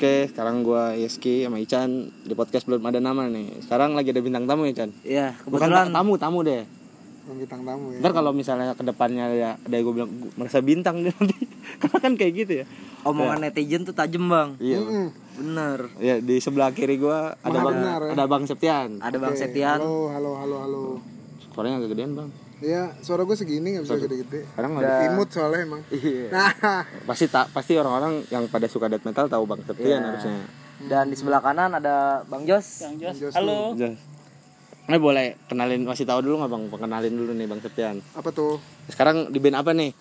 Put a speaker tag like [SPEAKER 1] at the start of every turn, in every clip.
[SPEAKER 1] Oke, sekarang gua Yeski sama Ican di podcast belum ada nama nih. Sekarang lagi ada bintang tamu Ican.
[SPEAKER 2] Iya,
[SPEAKER 1] Bukan
[SPEAKER 2] kebetulan
[SPEAKER 1] tamu, tamu deh.
[SPEAKER 3] bintang tamu ya
[SPEAKER 1] Ntar kalau misalnya kedepannya ada, ada gue bilang "Gua merasa bintang deh nanti, karena kan kayak gitu ya.
[SPEAKER 2] omongan netizen tuh tajem bang.
[SPEAKER 1] Iya.
[SPEAKER 3] Mm-mm.
[SPEAKER 2] Bener.
[SPEAKER 1] Ya di sebelah kiri gua ada
[SPEAKER 3] Mahal
[SPEAKER 1] bang,
[SPEAKER 3] benar, ya.
[SPEAKER 1] ada bang Septian.
[SPEAKER 2] Ada bang
[SPEAKER 3] Oke,
[SPEAKER 2] Septian.
[SPEAKER 3] halo halo halo halo
[SPEAKER 1] Suaranya agak gedean bang.
[SPEAKER 3] ya suara gue segini nggak bisa gede-gede
[SPEAKER 1] Sekarang
[SPEAKER 2] Dan-
[SPEAKER 1] ada.
[SPEAKER 3] imut soalnya emang
[SPEAKER 1] Iya.
[SPEAKER 3] nah
[SPEAKER 1] Pasti tak pasti orang-orang yang pada suka death metal tahu bang
[SPEAKER 3] Iya.
[SPEAKER 1] Septian harusnya.
[SPEAKER 2] Dan di sebelah kanan ada bang Jos.
[SPEAKER 4] Bang Jos.
[SPEAKER 3] Jos
[SPEAKER 4] Halo.
[SPEAKER 1] Jelas. Iya. Eh boleh kenalin masih tahu dulu nggak bang? Kenalin dulu nih bang Septian.
[SPEAKER 3] apa tuh
[SPEAKER 1] Sekarang di band apa nih?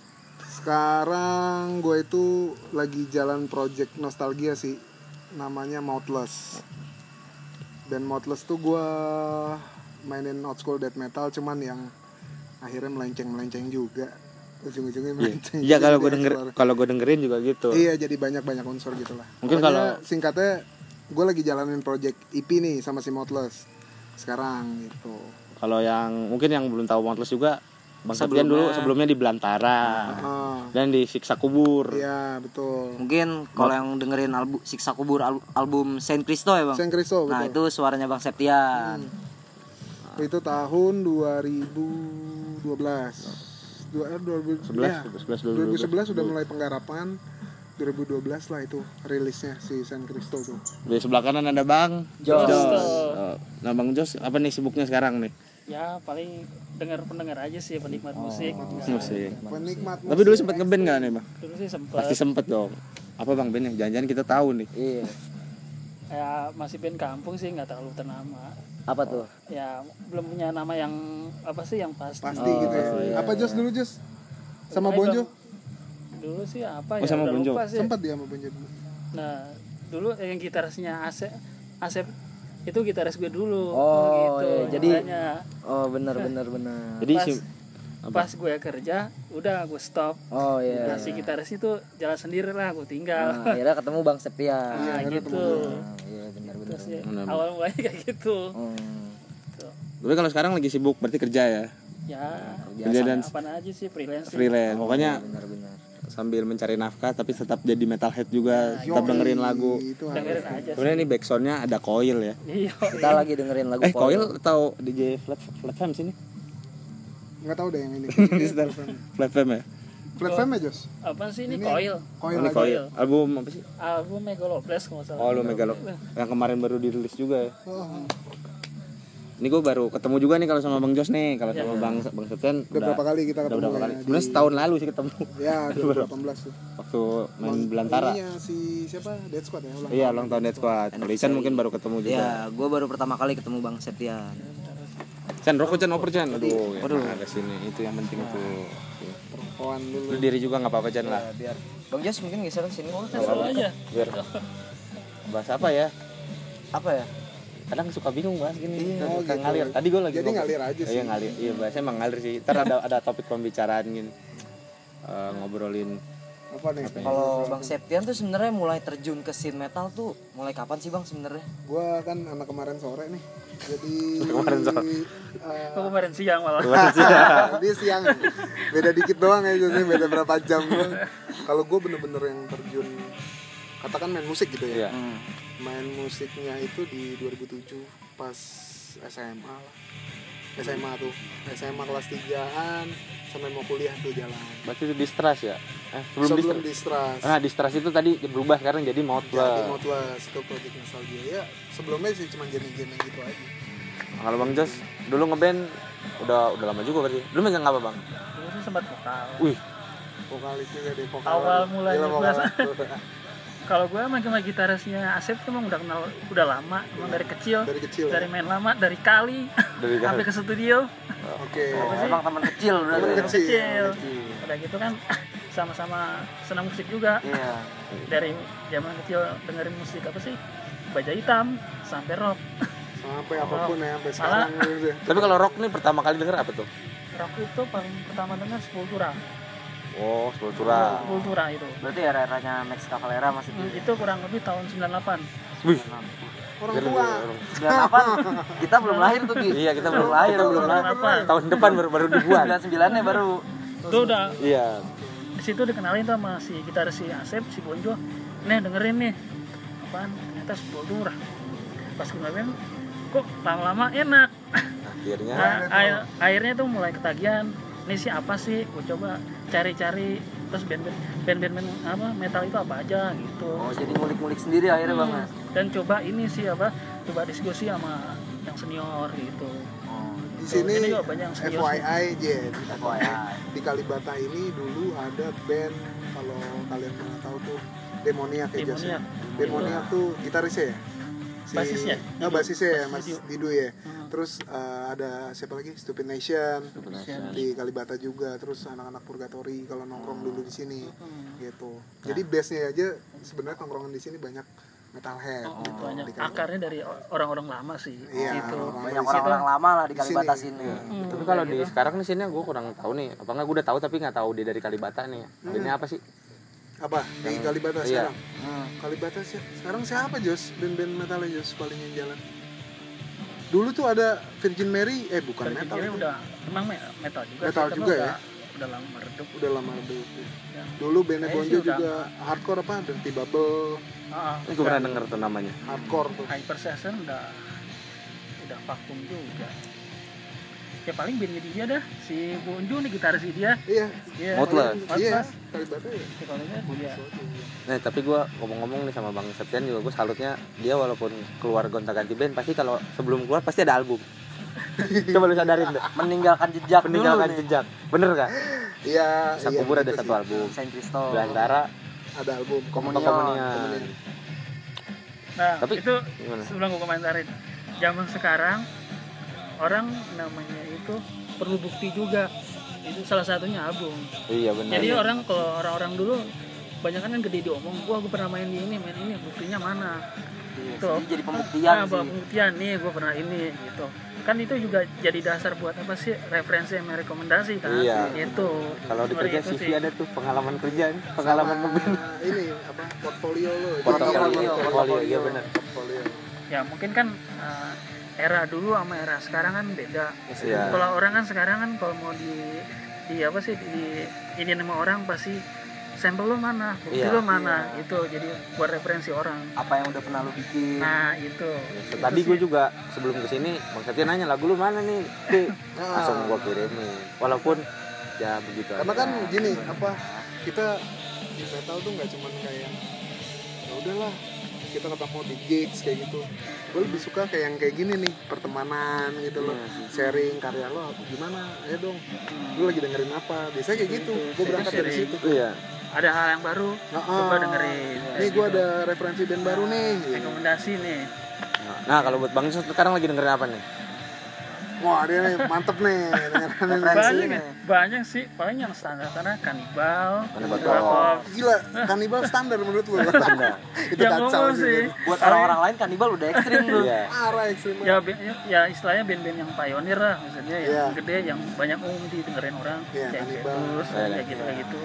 [SPEAKER 3] sekarang gue itu lagi jalan project nostalgia sih namanya Mouthless dan Mouthless tuh gue mainin old school death metal cuman yang akhirnya melenceng melenceng juga ujung-ujungnya melenceng
[SPEAKER 1] Iya
[SPEAKER 3] juga
[SPEAKER 1] kalau
[SPEAKER 3] di
[SPEAKER 1] gue denger
[SPEAKER 3] explore.
[SPEAKER 1] kalau gue dengerin juga gitu.
[SPEAKER 3] Iya jadi banyak banyak unsur gitu lah.
[SPEAKER 1] Mungkin
[SPEAKER 3] Pokoknya
[SPEAKER 1] kalau-
[SPEAKER 3] singkatnya gue lagi jalanin project EP nih sama si Motless sekarang gitu.
[SPEAKER 1] Kalau yang mungkin yang belum tahu Mountless juga Bang Septian dulu sebelumnya di Belantara
[SPEAKER 3] Ah,
[SPEAKER 1] dan di Siksa Kubur.
[SPEAKER 3] iya betul.
[SPEAKER 2] Mungkin kalau yang dengerin album Siksa Kubur al- album Saint Cristo ya bang.
[SPEAKER 3] Saint Cristo
[SPEAKER 2] Nah
[SPEAKER 3] betul.
[SPEAKER 2] itu suaranya bang Septian.
[SPEAKER 3] itu... tahun 2012. Dua, eh, 2011, ya,
[SPEAKER 1] 11
[SPEAKER 3] 2011 sudah mulai penggarapan 2012 lah itu rilisnya si San Cristo tuh
[SPEAKER 1] Di sebelah kanan ada Bang
[SPEAKER 2] Jos.
[SPEAKER 1] Oh, Nah Bang Jos apa nih sibuknya sekarang nih?
[SPEAKER 4] Ya paling dengar pendengar aja sih penikmat
[SPEAKER 2] Oh.
[SPEAKER 4] musik.
[SPEAKER 1] Musik.
[SPEAKER 3] penikmat
[SPEAKER 1] Tapi dulu sempet ngeband nggak nih Bang?
[SPEAKER 4] Dulu sih sempet
[SPEAKER 1] Pasti sempet dong. Apa Bang bandnya? Jangan-jangan kita tahu nih.
[SPEAKER 2] Iya.
[SPEAKER 4] ya masih band kampung sih nggak terlalu ternama.
[SPEAKER 2] Apa tuh?
[SPEAKER 4] Ya belum punya nama yang apa sih yang pasti.
[SPEAKER 3] pasti gitu ya
[SPEAKER 1] Oh, iya.
[SPEAKER 3] apa Jos dulu Jos sama
[SPEAKER 4] Ayo,
[SPEAKER 3] Bonjo
[SPEAKER 4] Dulu sih apa
[SPEAKER 1] Oh,
[SPEAKER 4] ya
[SPEAKER 1] sama
[SPEAKER 4] udah
[SPEAKER 1] Bonjo.
[SPEAKER 4] lupa sih.
[SPEAKER 3] sempat dia sama Bonjo dulu
[SPEAKER 4] Nah dulu yang gitarisnya Asep Asep itu gitaris gue dulu. Gitu.
[SPEAKER 2] Oh, iya, jadi-
[SPEAKER 4] Makanya
[SPEAKER 2] Oh bener bener bener.
[SPEAKER 1] Jadi
[SPEAKER 4] Pas.
[SPEAKER 1] si-
[SPEAKER 4] pas gue kerja udah gue stop.
[SPEAKER 2] Oh
[SPEAKER 4] Nah,
[SPEAKER 2] iya.
[SPEAKER 4] si gitaris itu jalan sendiri lah gue tinggal.
[SPEAKER 2] Nah, akhirnya ketemu bang Septian.
[SPEAKER 4] Nah, gitu.
[SPEAKER 2] Nah, Iya bener bener.
[SPEAKER 4] Terus ya, awal mulanya kayak gitu.
[SPEAKER 2] Hmm.
[SPEAKER 4] Tuh.
[SPEAKER 1] tapi kalau sekarang lagi sibuk berarti kerja ya.
[SPEAKER 4] Ya,
[SPEAKER 1] Kerja dan
[SPEAKER 4] apa aja sih freelance. sih.
[SPEAKER 1] freelance. Pokoknya
[SPEAKER 2] Bener bener.
[SPEAKER 1] sambil mencari nafkah tapi tetap jadi metalhead juga,
[SPEAKER 3] Iya.
[SPEAKER 1] tetap dengerin lagu.
[SPEAKER 3] itu
[SPEAKER 4] Dengerin aja.
[SPEAKER 1] Sebenarnya ini backsoundnya ada coil ya.
[SPEAKER 4] Iya.
[SPEAKER 2] Kita lagi dengerin lagu
[SPEAKER 1] Eh coil atau DJ flat flat fam sini?
[SPEAKER 3] nggak tahu deh yang ini
[SPEAKER 1] Flat fam ya.
[SPEAKER 3] platformnya Jos
[SPEAKER 4] Apa sih ini, coil?
[SPEAKER 3] koin
[SPEAKER 1] Ini
[SPEAKER 3] lagi
[SPEAKER 1] coil. Album apa sih?
[SPEAKER 4] Album Megalobles kalau nggak salah.
[SPEAKER 1] Oh lu Megalop yang kemarin baru dirilis juga ya.
[SPEAKER 3] Oh,
[SPEAKER 1] Ini gue baru ketemu juga nih kalau sama Bang Jos nih, kalau sama Bang Bang Septian
[SPEAKER 3] udah berapa kali
[SPEAKER 1] Iya.
[SPEAKER 3] kita
[SPEAKER 1] Udah
[SPEAKER 3] ketemu
[SPEAKER 1] berapa
[SPEAKER 3] ya,
[SPEAKER 1] kali?
[SPEAKER 3] di-
[SPEAKER 1] Sebenarnya setahun lalu sih ketemu
[SPEAKER 3] ya 2018 tuh
[SPEAKER 1] waktu main Belantara.
[SPEAKER 3] ininya si siapa Dead Squad ya ulang
[SPEAKER 1] Iya, ulang tahun Dead Squad. Kalau Ican mungkin baru ketemu juga.
[SPEAKER 2] Ya, gue baru pertama kali ketemu Bang Septian.
[SPEAKER 1] Chan, rokok Chan, oper Chan. Iya. Aduh, Iya. ya, nah, ke sini itu yang penting itu.
[SPEAKER 3] perempuan dulu
[SPEAKER 1] Lu diri juga nggak apa-apa Chan lah.
[SPEAKER 2] Bang Jos mungkin geser ke sini.
[SPEAKER 4] Seru
[SPEAKER 1] Iya,
[SPEAKER 4] aja.
[SPEAKER 1] Biar bahas apa ya?
[SPEAKER 2] Apa ya?
[SPEAKER 1] kadang suka bingung bahas gini
[SPEAKER 3] Iya,
[SPEAKER 1] suka
[SPEAKER 3] gitu.
[SPEAKER 1] ngalir tadi gue lagi
[SPEAKER 3] Jadi
[SPEAKER 1] ngobrol-
[SPEAKER 3] ngalir aja
[SPEAKER 1] iya ngalir iya bahasanya emang ngalir sih ntar ada ada topik pembicaraan gini Eh, ngobrolin
[SPEAKER 3] apa nih
[SPEAKER 1] Iya, ya?
[SPEAKER 2] Kalau Bang Septian tuh sebenarnya mulai terjun ke scene metal tuh mulai kapan sih Bang sebenarnya?
[SPEAKER 3] gue kan anak kemarin sore nih jadi
[SPEAKER 1] Kemarin sore.
[SPEAKER 3] eh,
[SPEAKER 4] Kok kemarin siang malah.
[SPEAKER 3] dia siang beda dikit doang ya Jos, beda berapa jam doang. kalau gue bener-bener yang terjun katakan main musik gitu ya
[SPEAKER 1] iya
[SPEAKER 3] main musiknya itu di 2007 pas SMA lah. SMA tuh SMA kelas 3an sampai mau kuliah tuh jalan
[SPEAKER 1] berarti itu distrust ya eh sebelum,
[SPEAKER 3] sebelum
[SPEAKER 1] distrust
[SPEAKER 3] distras
[SPEAKER 1] nah distrust itu tadi berubah sekarang jadi mau
[SPEAKER 3] jadi Mouthless itu project nostalgia ya sebelumnya sih cuma jenis-jenis gitu aja
[SPEAKER 1] kalau bang Jos dulu ngeband udah udah lama juga berarti dulu main apa bang
[SPEAKER 4] Dulu sih sempat metal.
[SPEAKER 1] wih
[SPEAKER 3] vokalis juga ya deh vokal
[SPEAKER 4] Awal mulanya
[SPEAKER 3] Gila,
[SPEAKER 4] kelas-
[SPEAKER 3] vokalis.
[SPEAKER 4] Kalau gue emang sama gitarisnya Asep tuh emang udah kenal udah lama, emang dari kecil,
[SPEAKER 3] dari kecil ya.
[SPEAKER 4] dari main lama, dari kali
[SPEAKER 1] dari
[SPEAKER 4] sampai ke studio.
[SPEAKER 3] oke
[SPEAKER 2] Emang teman kecil
[SPEAKER 3] dari
[SPEAKER 2] berarti.
[SPEAKER 3] kecil
[SPEAKER 4] Kecil. Udah gitu kan sama-sama senang musik juga.
[SPEAKER 2] Iya.
[SPEAKER 4] Dari zaman kecil dengerin musik apa sih? Baja hitam sampai rock.
[SPEAKER 3] sampai apapun ya sampai sekarang gitu.
[SPEAKER 1] tapi kalau rock nih pertama kali denger apa tuh
[SPEAKER 4] Rock itu paling pertama dengar Sepultura.
[SPEAKER 1] oh Sepultura
[SPEAKER 4] Sepultura itu.
[SPEAKER 2] Berarti era-eranya Max Cavalera masih
[SPEAKER 4] Hmm, itu kurang lebih tahun 98
[SPEAKER 1] wih
[SPEAKER 3] orang tua
[SPEAKER 2] apa? Kita belum lahir tuh Ki.
[SPEAKER 1] iya kita belum
[SPEAKER 2] lahir,
[SPEAKER 1] kita belum
[SPEAKER 2] belum
[SPEAKER 1] lahir.
[SPEAKER 4] lahir.
[SPEAKER 1] Nah, tahun depan baru baru dibuat
[SPEAKER 2] 99-nya baru.
[SPEAKER 4] itu udah
[SPEAKER 1] iya
[SPEAKER 4] di situ dikenalin tuh sama si gitaris si Asep si Bonjo nih dengerin nih apaan ternyata sepuluh murah pas gue nyobain kok lama-lama enak
[SPEAKER 1] akhirnya
[SPEAKER 4] Nah, air, airnya tuh mulai ketagihan ini sih apa sih gue coba cari-cari terus band-band band-band men- apa metal itu apa aja gitu
[SPEAKER 2] Oh jadi ngulik-ngulik sendiri akhirnya bang
[SPEAKER 1] Hmm.
[SPEAKER 2] ya?
[SPEAKER 4] dan coba ini sih apa coba diskusi sama yang senior gitu
[SPEAKER 3] Di
[SPEAKER 4] Tuh,
[SPEAKER 3] sini
[SPEAKER 4] ini juga banyak yang serius.
[SPEAKER 3] FYI Jen.
[SPEAKER 2] FYI.
[SPEAKER 3] Di Kalibata ini dulu ada band kalau kalian pernah tahu tuh Demoniac ya Jas, ya?
[SPEAKER 4] Demoniac.
[SPEAKER 3] Demoniac tuh gitarisnya ya? Si,
[SPEAKER 4] Basisnya?
[SPEAKER 3] Nah, basisnya ya Mas
[SPEAKER 4] Didu.
[SPEAKER 3] Didu ya.
[SPEAKER 4] Hmm.
[SPEAKER 3] Terus eh, ada siapa lagi? Stupid Nation. Di Kalibata juga. Terus anak-anak Purgatory kalau nongkrong dulu di sini
[SPEAKER 4] Hmm.
[SPEAKER 3] gitu.
[SPEAKER 4] Nah.
[SPEAKER 3] Jadi base-nya aja sebenarnya nongkrongan di sini banyak metalhead
[SPEAKER 4] Oh,
[SPEAKER 3] gitu.
[SPEAKER 4] banyak
[SPEAKER 3] Di Kalibata.
[SPEAKER 4] akarnya dari orang-orang lama sih
[SPEAKER 3] Iya,
[SPEAKER 4] gitu
[SPEAKER 3] orang-orang
[SPEAKER 2] Banyak
[SPEAKER 3] di situ.
[SPEAKER 2] orang-orang lama lah di
[SPEAKER 3] Di sini.
[SPEAKER 2] Kalibata sini.
[SPEAKER 1] Gitu. tapi kalau di sekarang nih sini gue kurang tahu nih apa enggak gue udah tahu tapi nggak tahu dia dari Kalibata nih ini apa sih
[SPEAKER 3] Apa? Di Kalibata
[SPEAKER 1] Iya.
[SPEAKER 3] sekarang?
[SPEAKER 2] Hmm.
[SPEAKER 3] Kalibata sih. Sekarang siapa Jos? Band-band metalnya Jos paling yang jalan. Dulu tuh ada Virgin Mary, eh bukan
[SPEAKER 4] Virgin
[SPEAKER 3] metal.
[SPEAKER 4] Mary
[SPEAKER 3] itu.
[SPEAKER 4] udah emang me- metal juga
[SPEAKER 3] Metal
[SPEAKER 4] tapi
[SPEAKER 3] juga ya?
[SPEAKER 4] udah, udah lama meredup
[SPEAKER 3] Udah lama dulu.
[SPEAKER 4] Ya.
[SPEAKER 3] Dulu bandnya
[SPEAKER 4] Kayaknya
[SPEAKER 3] Bonjo
[SPEAKER 4] sih udah.
[SPEAKER 3] juga hardcore apa? Dirty Bubble,
[SPEAKER 4] Ah, ah,
[SPEAKER 1] gue pernah denger tuh namanya
[SPEAKER 3] hardcore tuh.
[SPEAKER 4] hyper session udah udah vakum juga ya paling bandnya dia dah si Bonjo nih gitaris dia
[SPEAKER 3] Iya,
[SPEAKER 4] Iya,
[SPEAKER 1] Motless.
[SPEAKER 4] Motless.
[SPEAKER 3] iya. Kalibata ya.
[SPEAKER 4] Ya, palingnya dia.
[SPEAKER 1] Nah tapi gue ngomong-ngomong nih sama Bang Septian juga gue salutnya dia walaupun keluar gonta ganti band pasti kalau sebelum keluar pasti ada album. Coba lu sadarin deh.
[SPEAKER 2] Meninggalkan jejak
[SPEAKER 1] Meninggalkan
[SPEAKER 2] dulu nih.
[SPEAKER 1] jejak. Bener gak?
[SPEAKER 3] Iya,
[SPEAKER 1] Sang
[SPEAKER 3] iya,
[SPEAKER 1] kubur ada
[SPEAKER 3] gitu
[SPEAKER 1] satu
[SPEAKER 3] sih.
[SPEAKER 1] album.
[SPEAKER 2] Saint Cristo.
[SPEAKER 1] Belantara
[SPEAKER 3] Ada album Iya,
[SPEAKER 2] Komunion.
[SPEAKER 1] Komunian.
[SPEAKER 4] Nah,
[SPEAKER 1] Tapi-
[SPEAKER 4] itu
[SPEAKER 1] Gimana?
[SPEAKER 4] sebelum gue komentarin. Zaman sekarang orang namanya itu perlu bukti juga. Itu salah satunya album.
[SPEAKER 1] Iya bener.
[SPEAKER 4] Jadi orang kalau orang-orang dulu banyak kan gede diomong, wah gue pernah main di ini, main ini, buktinya mana?
[SPEAKER 2] Iya,
[SPEAKER 4] Tuh.
[SPEAKER 2] jadi jadi pembuktian sih.
[SPEAKER 4] nah, bawa pembuktian nih, gue pernah ini gitu. Kan itu juga jadi dasar buat apa sih referensi yang rekomendasi kan?
[SPEAKER 1] Iya.
[SPEAKER 4] Itu.
[SPEAKER 1] kalau di kerja CV ada tuh pengalaman kerjaan, pengalaman mobil.
[SPEAKER 3] Nah, ini apa? Portfolio lo.
[SPEAKER 1] Portofolio, portofolio, iya bener.
[SPEAKER 3] Portfolio.
[SPEAKER 4] ya mungkin kan eh, era dulu sama era sekarang kan beda
[SPEAKER 1] Iya.
[SPEAKER 4] kalau orang kan sekarang kan kalau mau di di apa sih di ini sama orang pasti sampel lo mana bukti
[SPEAKER 1] Iya.
[SPEAKER 4] lo mana itu jadi buat referensi orang
[SPEAKER 2] Apa yang udah pernah lu bikin?
[SPEAKER 4] nah itu
[SPEAKER 1] Tadi gue juga sebelum kesini Bang Septian nanya lagu lu mana nih? Ki?" Langsung gue kirimin. Walaupun ya begitu.
[SPEAKER 3] karena
[SPEAKER 1] aja.
[SPEAKER 3] kan gini apa kita di metal tuh nggak cuman kayak ya udahlah kita ketemu di gigs kayak gitu gue lebih suka kayak yang kayak gini nih pertemanan gitu loh
[SPEAKER 4] Iya,
[SPEAKER 3] sharing karya lo gimana ya dong lu lagi dengerin apa biasanya kayak gitu gue berangkat dari
[SPEAKER 4] sharing.
[SPEAKER 3] situ
[SPEAKER 1] Iya.
[SPEAKER 4] ada hal yang baru
[SPEAKER 3] Nah,
[SPEAKER 4] coba
[SPEAKER 3] ah,
[SPEAKER 4] dengerin
[SPEAKER 3] nih gue ada referensi band baru nih
[SPEAKER 4] rekomendasi nih
[SPEAKER 1] Nah kalau buat Bang Yus sekarang lagi dengerin apa nih?
[SPEAKER 3] wah dia nih mantep nih dengerin referensi
[SPEAKER 4] banyak ya, banyak sih paling yang standar karena kanibal
[SPEAKER 1] Kanibal
[SPEAKER 4] Kanibal
[SPEAKER 1] Corpse.
[SPEAKER 3] gila kanibal standar menurut lu itu
[SPEAKER 4] yang
[SPEAKER 3] kacau
[SPEAKER 4] ngomong
[SPEAKER 3] sih
[SPEAKER 4] sih
[SPEAKER 2] Buat orang-orang lain kanibal udah ekstrim tuh.
[SPEAKER 1] Iya.
[SPEAKER 3] parah ekstrim
[SPEAKER 4] ya be- ya istilahnya band-band yang pionir lah maksudnya
[SPEAKER 3] gitu. Iya.
[SPEAKER 4] yang gede yang banyak umum didengerin orang
[SPEAKER 3] Iya,
[SPEAKER 4] kayak gitu
[SPEAKER 1] Iya,
[SPEAKER 3] Hannibal.
[SPEAKER 4] kayak
[SPEAKER 1] iya.
[SPEAKER 4] gitu kayak gitu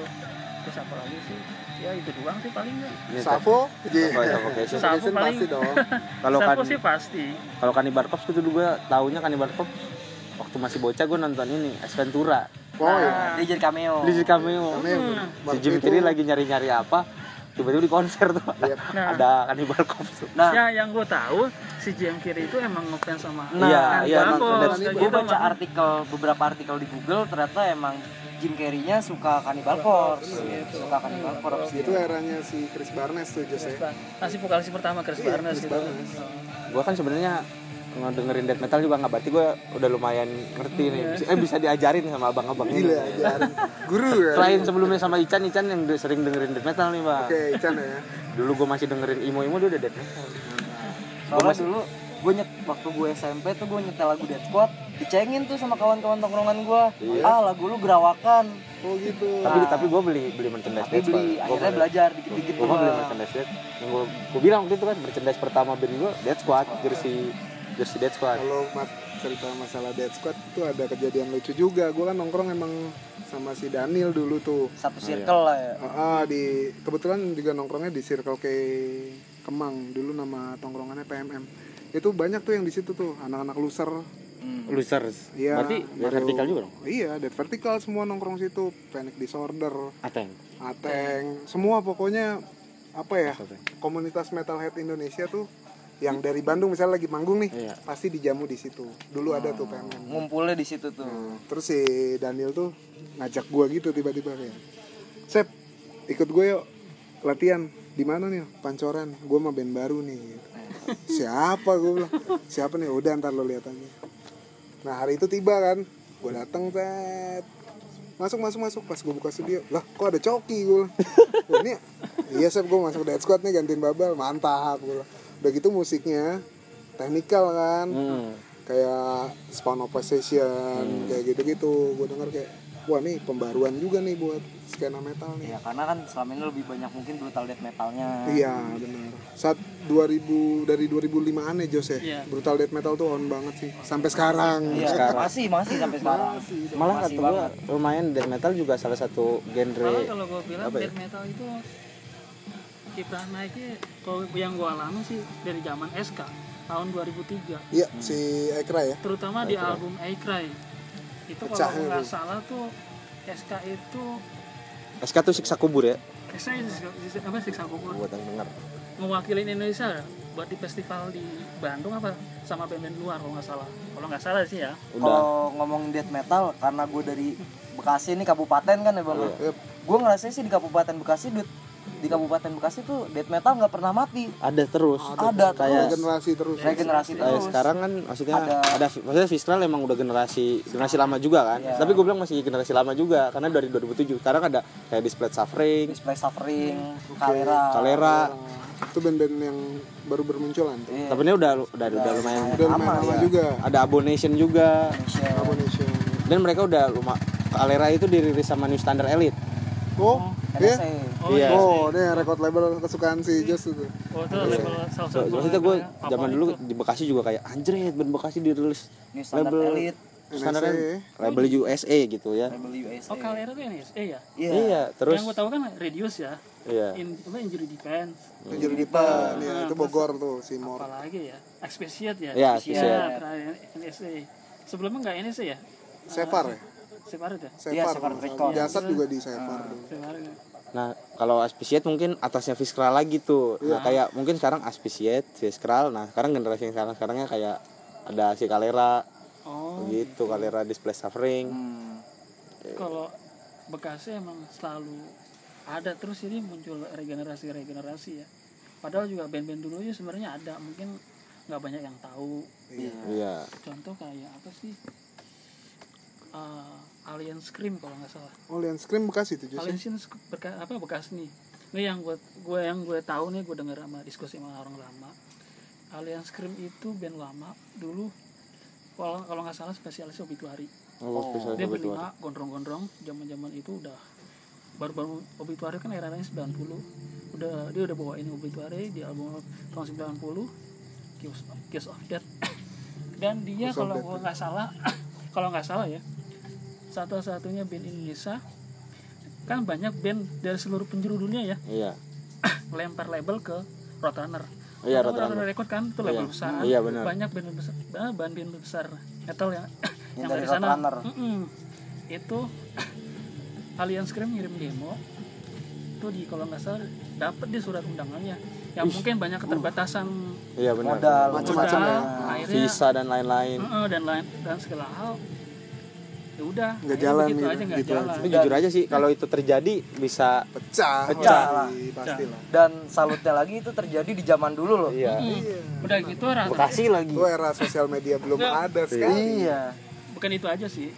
[SPEAKER 4] terus apa lagi sih ya itu doang sih paling nggak
[SPEAKER 1] Ini
[SPEAKER 3] Savo,
[SPEAKER 1] Savo, Savo Kesen.
[SPEAKER 4] Savo
[SPEAKER 3] Kesen
[SPEAKER 4] paling.
[SPEAKER 3] pasti dong.
[SPEAKER 1] Kalau kan
[SPEAKER 4] Sapu sih pasti
[SPEAKER 1] kalau Kanibal Corpse itu dulu gue taunya Kanibal Corpse waktu masih bocah gue nonton ini Ace Ventura.
[SPEAKER 3] Oh ya. Iya,
[SPEAKER 4] Nah,
[SPEAKER 2] Dia jadi Oh. cameo.
[SPEAKER 1] Di si cameo. Hmm.
[SPEAKER 3] Ini
[SPEAKER 1] Si
[SPEAKER 3] waktu
[SPEAKER 1] Jim
[SPEAKER 3] itu-
[SPEAKER 1] Carrey lagi nyari-nyari apa tiba-tiba di konser tuh ada,
[SPEAKER 4] Nah.
[SPEAKER 1] ada Kanibal Corpse.
[SPEAKER 2] Nah,
[SPEAKER 4] ya yang gue tahu si Jim Carrey itu emang ngefans sama
[SPEAKER 1] Nah, iya,
[SPEAKER 4] Hannibal
[SPEAKER 1] emang
[SPEAKER 4] Corpse,
[SPEAKER 1] bener.
[SPEAKER 4] kayak
[SPEAKER 2] gue
[SPEAKER 4] gitu,
[SPEAKER 2] baca
[SPEAKER 4] makanya-
[SPEAKER 2] artikel beberapa artikel di Google ternyata emang Jim Carrey-nya suka Cannibal Corpse, suka Cannibal Corpse
[SPEAKER 3] Itu
[SPEAKER 2] gitu.
[SPEAKER 3] eranya si Chris Barnes tuh Jose.
[SPEAKER 4] masih vokalis pertama Chris
[SPEAKER 3] Iya,
[SPEAKER 4] Barnes
[SPEAKER 3] Chris
[SPEAKER 4] gitu
[SPEAKER 3] Barnes.
[SPEAKER 1] Gue kan sebenarnya ngedengerin death metal juga nggak berarti gue udah lumayan ngerti nih. Bisa- Eh bisa diajarin sama abang-abang ini.
[SPEAKER 3] Gila ajarin. Guru ya.
[SPEAKER 1] Selain sebelumnya sama Ican, Ican yang de- sering dengerin death metal nih bang.
[SPEAKER 3] Oke, Ican ya.
[SPEAKER 1] Dulu gue masih dengerin Imo Imo dia udah death metal.
[SPEAKER 2] Soalnya dulu gue nyet waktu gue SMP tuh gue nyetel lagu Dead Squad dicengin tuh sama kawan-kawan tongkrongan gue ah lagu lu gerawakan
[SPEAKER 3] Oh gitu.
[SPEAKER 1] Tapi tapi gue beli beli merchandise
[SPEAKER 2] tapi
[SPEAKER 1] Death Metal.
[SPEAKER 2] beli
[SPEAKER 1] Gua
[SPEAKER 2] akhirnya
[SPEAKER 1] beli.
[SPEAKER 2] belajar dikit-dikit
[SPEAKER 1] gue
[SPEAKER 2] tuh
[SPEAKER 1] mah beli
[SPEAKER 2] lah.
[SPEAKER 1] merchandise Dead yang gue gue bilang waktu itu kan merchandise pertama band gue Dead Squad jersey jersey Dead Squad
[SPEAKER 3] Kalau mas cerita masalah Dead Squad itu ada kejadian lucu juga. Gue kan nongkrong emang sama si Daniel dulu tuh.
[SPEAKER 2] satu circle lah ya
[SPEAKER 3] Ah, ah, di kebetulan juga nongkrongnya di Circle K Kemang dulu nama tongkrongannya PMM. Itu banyak tuh yang di situ tuh anak-anak loser.
[SPEAKER 1] losers
[SPEAKER 3] Iya.
[SPEAKER 1] berarti
[SPEAKER 3] Mario-
[SPEAKER 1] vertikal juga dong
[SPEAKER 3] Iya, Dead Vertical semua nongkrong situ. Panic Disorder.
[SPEAKER 1] ateng
[SPEAKER 3] Ateng, semua pokoknya apa ya komunitas metalhead Indonesia tuh yang dari Bandung misalnya lagi manggung nih
[SPEAKER 1] Iya.
[SPEAKER 3] pasti dijamu di situ dulu ada tuh PMM
[SPEAKER 2] ngumpulnya di situ tuh
[SPEAKER 3] Nah, terus si Daniel tuh ngajak gua gitu tiba-tiba kayak Sep ikut gue yuk latihan di mana nih pancoran gue mah band baru nih gitu. siapa gue bilang siapa nih udah ntar lo lihat aja nah hari itu tiba kan gue datang set masuk masuk masuk pas gue buka studio lah kok ada coki gue bilang. "Wah, ini iya sep gue masuk dead squad nih gantiin babel mantap gue bilang. udah gitu musiknya teknikal kan kayak Spawn of Possession kayak gitu-gitu gue denger kayak wah nih pembaruan juga nih buat skena metal nih
[SPEAKER 2] ya karena kan selama ini lebih banyak mungkin brutal death metalnya
[SPEAKER 3] iya benar saat 2000 dari 2005 aneh Jos ya
[SPEAKER 4] Iya.
[SPEAKER 3] brutal death metal tuh on banget sih sampai sekarang
[SPEAKER 2] Iya, masih masih sampai sekarang
[SPEAKER 1] malah kata
[SPEAKER 2] Masih
[SPEAKER 1] gua lumayan death metal juga salah satu
[SPEAKER 4] Malah
[SPEAKER 1] genre
[SPEAKER 4] kalau gue bilang
[SPEAKER 1] apa ya?
[SPEAKER 4] death metal itu kiprah naiknya kalau yang gue alami sih dari zaman SK tahun 2003
[SPEAKER 3] iya si Ekra ya
[SPEAKER 4] terutama di album Aikrai itu kalau
[SPEAKER 3] Pecahnya
[SPEAKER 4] gua nggak
[SPEAKER 3] tuh.
[SPEAKER 4] salah tuh SK itu
[SPEAKER 1] SK tuh siksa kubur ya
[SPEAKER 4] SK itu siksa- siksa- apa siksa kubur
[SPEAKER 1] buat yang denger
[SPEAKER 4] mewakili Indonesia buat di festival di Bandung apa sama band-band luar kalau nggak salah kalau nggak salah sih ya
[SPEAKER 1] udah
[SPEAKER 2] kalau ngomong death metal karena gue dari Bekasi ini kabupaten kan ya bang
[SPEAKER 1] Iya.
[SPEAKER 3] Yep.
[SPEAKER 2] gue ngerasa sih di kabupaten Bekasi duit di kabupaten Bekasi tuh death metal nggak pernah mati
[SPEAKER 1] Oh, ada terus
[SPEAKER 2] Ada
[SPEAKER 1] kayak
[SPEAKER 3] generasi terus
[SPEAKER 2] regenerasi
[SPEAKER 1] kayak
[SPEAKER 2] terus
[SPEAKER 1] sekarang kan maksudnya ada,
[SPEAKER 2] Ada-
[SPEAKER 1] maksudnya Fiskal emang udah generasi generasi lama juga kan
[SPEAKER 2] Iya.
[SPEAKER 1] tapi gue bilang masih generasi lama juga karena dari 2007 sekarang ada kayak display suffering
[SPEAKER 2] display suffering kalera
[SPEAKER 1] Kalera,
[SPEAKER 3] Nah, itu band-band yang baru bermunculan tuh.
[SPEAKER 2] Iya, ya.
[SPEAKER 1] tapi ini udah udah udah lumayan
[SPEAKER 3] udah lumayan lama juga
[SPEAKER 1] ada abonation juga
[SPEAKER 2] Indonesia.
[SPEAKER 3] Abomination
[SPEAKER 1] dan mereka udah lumayan Alera itu dirilis sama New Standard Elite
[SPEAKER 3] oh iya
[SPEAKER 2] NSA.
[SPEAKER 1] iya
[SPEAKER 3] oh ini record label kesukaan si Jos itu
[SPEAKER 2] Hmm.
[SPEAKER 4] Oh, itu level ya. salah
[SPEAKER 1] So,
[SPEAKER 4] satu
[SPEAKER 1] maksudnya gue
[SPEAKER 4] levelnya apa
[SPEAKER 1] zaman
[SPEAKER 4] itu?
[SPEAKER 1] dulu di Bekasi juga kayak anjret band Bekasi dirilis
[SPEAKER 2] New Standard Elite.
[SPEAKER 1] standar
[SPEAKER 3] NSA.
[SPEAKER 1] Elite, label USA gitu ya
[SPEAKER 2] label USA.
[SPEAKER 4] oh kalera tuh ini eh ya
[SPEAKER 1] iya terus
[SPEAKER 4] yang gue tahu kan radius ya
[SPEAKER 1] iya
[SPEAKER 4] in apa injury defense
[SPEAKER 3] jadi depan ya itu Bogor tuh si Mor
[SPEAKER 4] apalagi ya expatiate ya
[SPEAKER 1] Iya,
[SPEAKER 4] Expatiate, terakhir NSA sebelumnya nggak NSA ya
[SPEAKER 3] Sevar ya
[SPEAKER 4] separate ya
[SPEAKER 2] Iya, Sevar
[SPEAKER 3] Sevar kalau nggak salah.
[SPEAKER 2] Record. Hmm.
[SPEAKER 3] Jasad juga di Sevar tuh.
[SPEAKER 4] Separate.
[SPEAKER 1] Nah, kalau aspisiat mungkin atasnya Fiskral lagi tuh. Nah,
[SPEAKER 4] Iya.
[SPEAKER 1] kayak mungkin sekarang aspisiat, Fiskral. Nah, sekarang generasi yang sekarang sekarangnya kayak ada si Kalera
[SPEAKER 4] oh
[SPEAKER 1] gitu, Kalera Display Suffering.
[SPEAKER 2] Hmm.
[SPEAKER 4] kalau Bekasi emang selalu ada terus ini muncul regenerasi regenerasi ya padahal juga band-band dulu ya sebenarnya ada mungkin nggak banyak yang tahu
[SPEAKER 1] Iya.
[SPEAKER 4] contoh kayak apa sih Eh, Alien Scream kalau nggak salah
[SPEAKER 3] Oh, Lian Scream Bekasi tuh Jos.
[SPEAKER 4] Alien Scream sek- berka- apa bekas nih ini yang gue gue yang gue tahu nih gue denger sama diskusi sama orang lama Alien Scream itu band lama dulu kalau kalau nggak salah spesialis obituari
[SPEAKER 1] Oh, Fiskral
[SPEAKER 3] Iya,
[SPEAKER 4] dia
[SPEAKER 1] kebetulan.
[SPEAKER 4] berlima gondrong-gondrong zaman-zaman itu udah baru-baru obituari kan era 90 udah dia udah bawain obituari di album tahun 90 Kiss, Kiss of Death dan dia
[SPEAKER 3] Kiss of
[SPEAKER 4] kalau
[SPEAKER 3] Death,
[SPEAKER 4] gua nggak salah kalau nggak salah ya satu-satunya band Indonesia kan banyak band dari seluruh penjuru dunia ya
[SPEAKER 1] Iya.
[SPEAKER 4] lempar label ke Roadrunner
[SPEAKER 1] Iya,
[SPEAKER 4] Roadrunner
[SPEAKER 1] Roadrunner.
[SPEAKER 4] Record kan itu
[SPEAKER 1] Iya.
[SPEAKER 4] label besar
[SPEAKER 1] Iya, benar.
[SPEAKER 4] banyak band besar ah, band band besar metal yang yang
[SPEAKER 2] dari
[SPEAKER 4] dari sana
[SPEAKER 2] Roadrunner.
[SPEAKER 4] Mm-mm. itu Alien Scream ngirim demo itu di kalau nggak salah dapat di surat undangannya yang mungkin banyak keterbatasan
[SPEAKER 1] Iya benar.
[SPEAKER 2] Modal.
[SPEAKER 4] modal akhirnya Hmm.
[SPEAKER 1] Visa dan lain-lain.
[SPEAKER 4] mm-mm, dan lain dan segala hal ya udah akhirnya
[SPEAKER 3] jalan
[SPEAKER 4] begitu
[SPEAKER 3] gitu,
[SPEAKER 4] aja nggak
[SPEAKER 3] gitu
[SPEAKER 4] jalan
[SPEAKER 1] Tapi jujur aja sih kalau itu terjadi bisa
[SPEAKER 3] Pecah,
[SPEAKER 2] Pecah lah.
[SPEAKER 3] pasti, pastilah.
[SPEAKER 2] Dan salutnya lagi itu terjadi di zaman dulu
[SPEAKER 4] Hmm.
[SPEAKER 2] loh.
[SPEAKER 1] iya.
[SPEAKER 4] udah gitu rata
[SPEAKER 1] Bekasi lagi.
[SPEAKER 3] Lu era sosial media belum ada sekali.
[SPEAKER 2] Iya.
[SPEAKER 4] bukan itu aja sih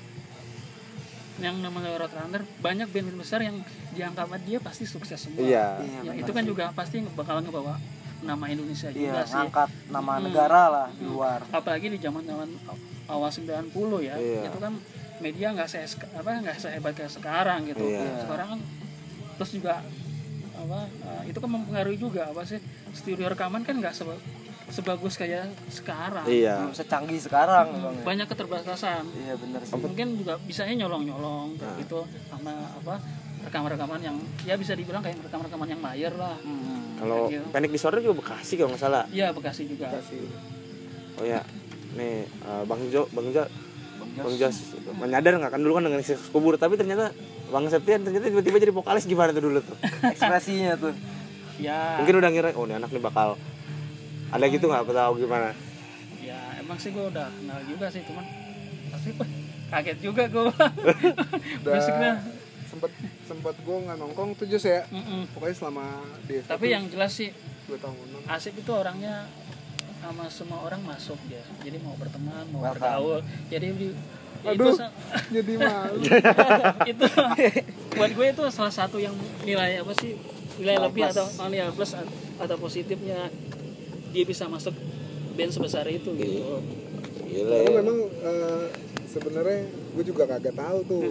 [SPEAKER 4] yang namanya Roadrunner banyak band besar yang dianggap dia pasti sukses semua
[SPEAKER 1] Iya.
[SPEAKER 2] Iya,
[SPEAKER 4] Ya, itu kan juga pasti bakal ngebawa nama Indonesia
[SPEAKER 2] Iya,
[SPEAKER 4] juga sih Hmm.
[SPEAKER 2] ngangkat nama negara lah di luar.
[SPEAKER 4] apalagi di zaman zaman awal 90 ya
[SPEAKER 1] Iya.
[SPEAKER 4] itu kan media nggak se apa nggak sehebat kayak sekarang gitu
[SPEAKER 1] Iya.
[SPEAKER 4] sekarang kan terus juga apa eh, itu kan mempengaruhi juga apa sih studio rekaman kan nggak seba- sebagus kayak sekarang
[SPEAKER 1] Iya.
[SPEAKER 2] Belum secanggih sekarang, Bang.
[SPEAKER 4] banyak keterbatasan
[SPEAKER 2] Iya, bener sih.
[SPEAKER 4] mungkin juga bisanya nyolong-nyolong kayak gitu sama apa rekaman-rekaman yang ya bisa dibilang kayak rekaman-rekaman yang mayer lah
[SPEAKER 2] Hmm.
[SPEAKER 1] Kalau
[SPEAKER 4] Iya.
[SPEAKER 1] Panic Disorder juga Bekasi kalau nggak salah.
[SPEAKER 4] iya Bekasi juga
[SPEAKER 1] Oh ya, nih eh, Bang Jo, Bang Jo, Bang Jos menyadar nggak kan dulu kan dengan Sisus kubur tapi ternyata Bang Septian ternyata tiba-tiba jadi vokalis gimana tuh dulu tuh?
[SPEAKER 2] Ekspresinya tuh.
[SPEAKER 4] ya
[SPEAKER 1] Mungkin udah ngira, oh ini anak nih bakal ada gitu nggak tahu gimana.
[SPEAKER 4] ya emang sih gue udah kenal juga sih cuman pasti wah, kaget juga gue musiknya
[SPEAKER 3] sempet sempet gue nggak nongkrong tuh Jus ya
[SPEAKER 4] Mm-mm.
[SPEAKER 3] pokoknya selama di FF
[SPEAKER 4] tapi yang jelas sih
[SPEAKER 3] dua tahun nongkrong
[SPEAKER 4] asik itu orangnya sama semua orang masuk ya jadi mau berteman mau
[SPEAKER 2] Welcome.
[SPEAKER 4] bergaul jadi di- ya
[SPEAKER 3] Aduh.
[SPEAKER 4] sa-
[SPEAKER 3] jadi malu
[SPEAKER 4] itu buat gue itu salah satu yang nilai apa sih nilai lebih atau oh, nilai plus at- atau positifnya dia bisa masuk band sebesar itu gitu
[SPEAKER 1] Gila
[SPEAKER 3] Lalu
[SPEAKER 1] ya.
[SPEAKER 3] memang eh, sebenarnya gue juga kagak tahu tuh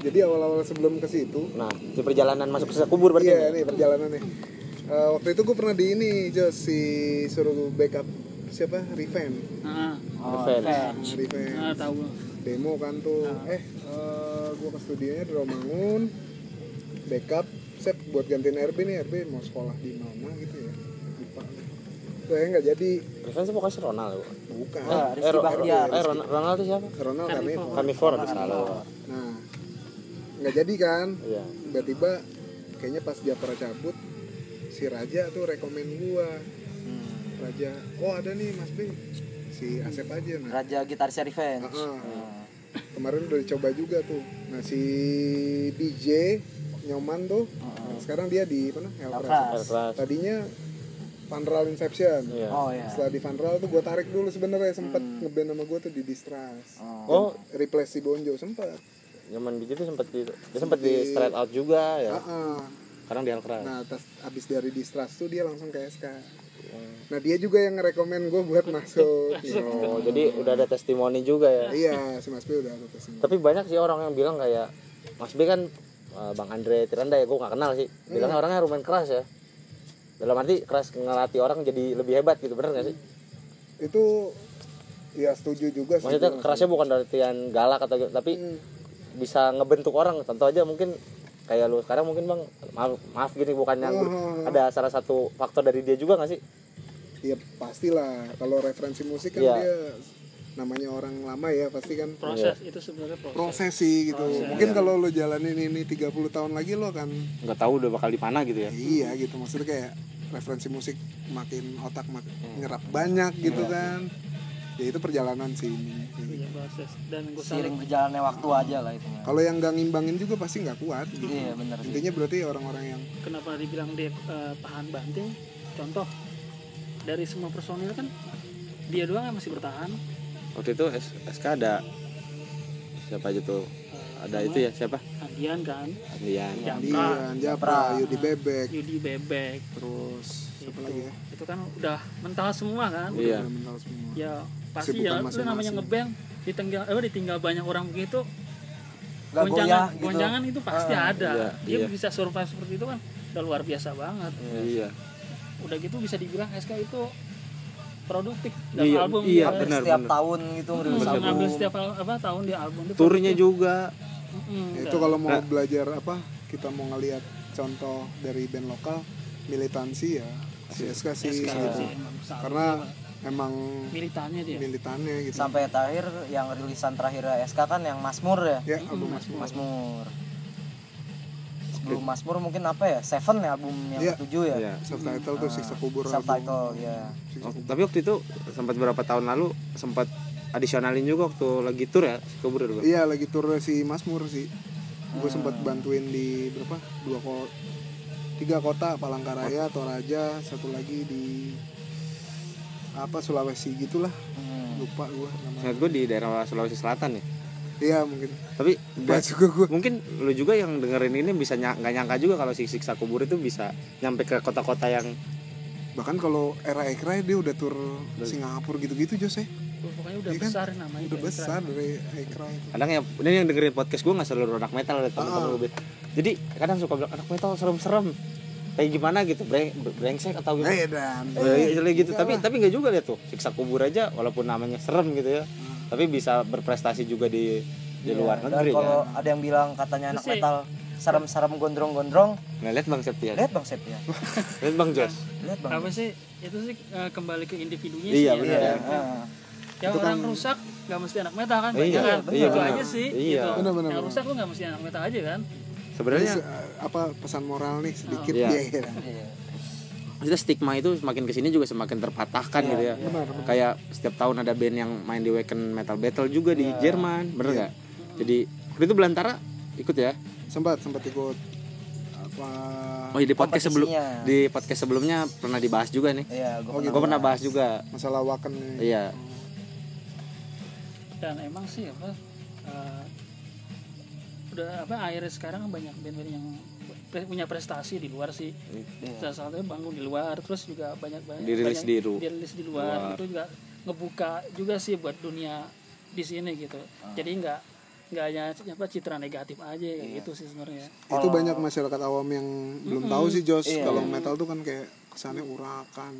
[SPEAKER 3] jadi awal-awal sebelum ke situ
[SPEAKER 1] Nah, di perjalanan masuk ke kubur berarti.
[SPEAKER 3] Iya nih perjalanannya. Eh, waktu itu gue pernah di ini Jos si suruh backup siapa Riven.
[SPEAKER 4] nah,
[SPEAKER 2] Oh,
[SPEAKER 1] Fans.
[SPEAKER 2] fans.
[SPEAKER 3] Nah, Riven
[SPEAKER 4] nah tahu
[SPEAKER 3] demo kan tuh. Eh gue ke studionya di Romangun backup set buat gantiin RB nih RB mau sekolah di mana gitu ya lupa. Saya nggak jadi
[SPEAKER 1] Referensi pokoknya si Ronald. Bu.
[SPEAKER 3] bukan.
[SPEAKER 2] Ah, Rizky
[SPEAKER 1] Ro-
[SPEAKER 2] Bahtiar.
[SPEAKER 1] eh, Ronald, Ronald itu siapa?
[SPEAKER 3] Ronald kami.
[SPEAKER 1] Iya. Kami Four ada salah.
[SPEAKER 3] Nah nggak jadi kan.
[SPEAKER 1] Iya.
[SPEAKER 3] Tiba-tiba kayaknya pas Japra cabut si Raja tuh rekomen gua Raja, oh ada nih Mas B, si Asep aja nah.
[SPEAKER 2] Raja gitarisnya Revenge.
[SPEAKER 3] Heeh.
[SPEAKER 2] Nah,
[SPEAKER 3] Kemarin udah dicoba juga tuh. Nah si DJ Nyoman tuh, sekarang dia di mana? Helpras.
[SPEAKER 2] Helpras.
[SPEAKER 1] Keras.
[SPEAKER 3] Tadinya Vandral Inception.
[SPEAKER 1] Iya.
[SPEAKER 2] Oh ya.
[SPEAKER 3] Setelah di Vandral tuh gue tarik dulu sebenarnya sempet ngeband sama gue tuh di Distrust.
[SPEAKER 1] Oh,
[SPEAKER 3] Replace si Bonjo sempet.
[SPEAKER 1] zaman DJ itu sempat di dia sempat di straight out juga ya.
[SPEAKER 3] Heeh.
[SPEAKER 1] Sekarang di Alcraz.
[SPEAKER 3] Nah atas abis dari Distrust tuh dia langsung ke SK. Nah dia juga yang ngerekomen gue buat masuk.
[SPEAKER 1] Oh, jadi udah ada testimoni juga ya.
[SPEAKER 3] Iya, si Mas B udah ada kesini.
[SPEAKER 1] Tapi banyak sih orang yang bilang kayak Mas B kan eh, Bang Andre Tiranda ya, gue gak kenal sih. Bilangnya orangnya rumen keras ya. Dalam arti keras ngelatih orang jadi lebih hebat gitu, bener gak sih?
[SPEAKER 3] itu ya setuju juga sih Hmm.
[SPEAKER 1] Maksudnya kerasnya bukan dari tian galak atau gitu, tapi
[SPEAKER 3] Iya.
[SPEAKER 1] bisa ngebentuk orang. Tentu aja mungkin kayak lu sekarang mungkin bang maaf, maaf gini bukan yang ada salah satu faktor dari dia juga gak sih?
[SPEAKER 3] ya pastilah kalau referensi musik kan
[SPEAKER 1] Iya.
[SPEAKER 3] dia namanya orang lama ya pasti kan
[SPEAKER 4] proses itu sebenarnya proses
[SPEAKER 3] proses sih gitu mungkin kalau lo jalanin ini 30 tahun lagi lo kan
[SPEAKER 1] Gak tahu udah bakal di mana gitu ya.
[SPEAKER 3] iya gitu maksudnya kayak referensi musik makin otak mak nyerap banyak gitu kan ya itu perjalanan sih ini
[SPEAKER 4] Iya, proses dan gue salut
[SPEAKER 2] Seiring berjalannya waktu aja lah itu.
[SPEAKER 3] kalau yang gak ngimbangin juga pasti nggak kuat gitu.
[SPEAKER 2] Iya bener sih.
[SPEAKER 3] intinya berarti orang-orang yang
[SPEAKER 4] kenapa dibilang dia eh, tahan banting contoh dari semua personil kan dia doang yang masih bertahan
[SPEAKER 1] Waktu itu S- SK ada siapa aja tuh? Ada itu ya siapa?
[SPEAKER 4] Adian kan
[SPEAKER 1] Andian.
[SPEAKER 4] Jaka
[SPEAKER 3] Dian, Japra, Yudi Bebek
[SPEAKER 4] Yudi Bebek
[SPEAKER 3] terus siapa
[SPEAKER 4] Itu.
[SPEAKER 3] lagi ya
[SPEAKER 4] itu kan udah mental semua kan
[SPEAKER 1] Iya.
[SPEAKER 3] Mental semua
[SPEAKER 4] ya pasti
[SPEAKER 3] Kesibukan
[SPEAKER 4] ya lu
[SPEAKER 3] masing-masing.
[SPEAKER 4] namanya ngeband ditinggal eh, ditinggal banyak orang begitu
[SPEAKER 2] Nggak goyah
[SPEAKER 4] goncangan
[SPEAKER 2] gitu.
[SPEAKER 4] goncangan itu pasti ada
[SPEAKER 1] Iya,
[SPEAKER 4] dia
[SPEAKER 1] iya.
[SPEAKER 4] bisa survive seperti itu kan udah luar biasa banget
[SPEAKER 1] Iya.
[SPEAKER 4] udah gitu bisa dibilang SK itu produktif dalam
[SPEAKER 1] Iya,
[SPEAKER 4] album
[SPEAKER 1] iya,
[SPEAKER 4] dia.
[SPEAKER 1] benar,
[SPEAKER 2] setiap
[SPEAKER 1] benar.
[SPEAKER 2] tahun gitu ngerilis
[SPEAKER 4] Bisa
[SPEAKER 2] album.
[SPEAKER 4] ngambil setiap al- apa tahun di album itu
[SPEAKER 1] Turnya juga.
[SPEAKER 4] Mm-mm,
[SPEAKER 3] Ya,
[SPEAKER 4] udah.
[SPEAKER 3] itu kalau mau belajar apa kita mau ngelihat contoh dari band lokal militansi ya si SK sih
[SPEAKER 4] SK
[SPEAKER 3] gitu.
[SPEAKER 4] sih, Iya. emang salut.
[SPEAKER 3] karena emang
[SPEAKER 4] militannya dia
[SPEAKER 3] militannya gitu
[SPEAKER 2] Sampai terakhir yang rilisan terakhir SK kan yang Masmur ya.
[SPEAKER 3] ya album Mas Mo.
[SPEAKER 2] Masmur. Sebelum Masmur mungkin apa ya? Seven ya album yang
[SPEAKER 3] Iya.
[SPEAKER 2] ketujuh ya.
[SPEAKER 1] Iya.
[SPEAKER 3] subtitle tuh siksa kubur album.
[SPEAKER 2] Subtitle ya.
[SPEAKER 3] Siksa
[SPEAKER 1] Oh,
[SPEAKER 3] kubur.
[SPEAKER 1] tapi waktu itu sempat berapa tahun lalu sempat adisionalin juga waktu lagi tur ya ke Bogor juga.
[SPEAKER 3] iya lagi tur si Mas Mur sih gue sempat bantuin di berapa dua ko tiga kota Palangkaraya Toraja satu lagi di apa Sulawesi gitulah
[SPEAKER 2] Hmm.
[SPEAKER 3] lupa gue namanya
[SPEAKER 1] Sangat gue di daerah Sulawesi Selatan ya.
[SPEAKER 3] iya mungkin
[SPEAKER 1] Tapi
[SPEAKER 3] Lupa juga gue
[SPEAKER 1] mungkin lu juga yang dengerin ini bisa nya- nggak nyangka juga kalau si siksa kubur itu bisa nyampe ke kota-kota yang
[SPEAKER 3] bahkan kalau era Ekra ya, dia udah tur Singapura gitu-gitu Jos ya
[SPEAKER 4] Oh, pokoknya udah
[SPEAKER 3] Iya kan?
[SPEAKER 4] besar namanya
[SPEAKER 3] udah
[SPEAKER 4] Band
[SPEAKER 3] besar dari Ekra itu
[SPEAKER 1] kadang ya ini yang dengerin podcast gue nggak seluruh anak metal ada temen-temen gue, Bet. jadi kadang suka bilang anak metal serem-serem kayak gimana gitu breng- brengsek atau gitu
[SPEAKER 3] eh dan
[SPEAKER 1] Eh, gitu tapi tapi nggak juga lihat tuh siksa kubur aja walaupun namanya serem gitu ya tapi bisa berprestasi juga di di luar
[SPEAKER 2] Dan
[SPEAKER 1] negeri
[SPEAKER 2] kalau
[SPEAKER 1] kan
[SPEAKER 2] ada yang bilang katanya anak metal serem-serem gondrong-gondrong,
[SPEAKER 1] nah, lihat bang Septian
[SPEAKER 2] lihat Bang Sep ya.
[SPEAKER 1] lihat bang Jos
[SPEAKER 2] Lihat Bang.
[SPEAKER 4] apa sih itu sih eh, kembali ke individunya
[SPEAKER 1] Iya,
[SPEAKER 4] sih
[SPEAKER 1] benar.
[SPEAKER 4] ya.
[SPEAKER 2] Ya. Ah.
[SPEAKER 4] yang orang rusak nggak mesti anak metal kan
[SPEAKER 1] kan Iya,
[SPEAKER 4] banyak kan
[SPEAKER 1] iya,
[SPEAKER 4] itu
[SPEAKER 1] benar.
[SPEAKER 4] aja sih
[SPEAKER 1] Iya.
[SPEAKER 4] gitu.
[SPEAKER 3] Benar, benar,
[SPEAKER 4] yang
[SPEAKER 3] benar.
[SPEAKER 4] rusak lu nggak mesti anak metal aja kan
[SPEAKER 3] Iya.
[SPEAKER 1] sebenarnya
[SPEAKER 3] apa pesan eh, moral nih sedikit
[SPEAKER 1] Iya.
[SPEAKER 3] dia ya.
[SPEAKER 2] Iya.
[SPEAKER 1] maksudnya stigma itu semakin kesini juga semakin terpatahkan gitu ya kayak setiap tahun ada band yang main di Weekend Metal Battle juga di Jerman bener nggak jadi waktu itu Belantara ikut ya
[SPEAKER 3] sempat sempat ikut apa
[SPEAKER 1] oh iya, di podcast sebelum
[SPEAKER 2] Kompetisinya.
[SPEAKER 1] di podcast sebelumnya pernah dibahas juga nih
[SPEAKER 2] Iya, gue
[SPEAKER 1] gue pernah bahas juga
[SPEAKER 3] masalah waken nih.
[SPEAKER 1] iya
[SPEAKER 4] dan emang sih apa eh, udah apa akhirnya sekarang kan banyak band-band yang pre- punya prestasi di luar sih salah satunya bangun di luar terus juga banyak banyak
[SPEAKER 1] Dirilis
[SPEAKER 4] banyak
[SPEAKER 1] Iya. di ru-
[SPEAKER 4] dirilis di luar, itu juga ngebuka juga sih buat dunia di sini gitu
[SPEAKER 1] Ah.
[SPEAKER 4] jadi nggak nggak hanya apa citra negatif aja kayak
[SPEAKER 1] Iya.
[SPEAKER 4] gitu sih sebenarnya
[SPEAKER 3] itu banyak masyarakat awam yang belum tahu sih Jos kalau metal tuh kan kayak kesannya urakan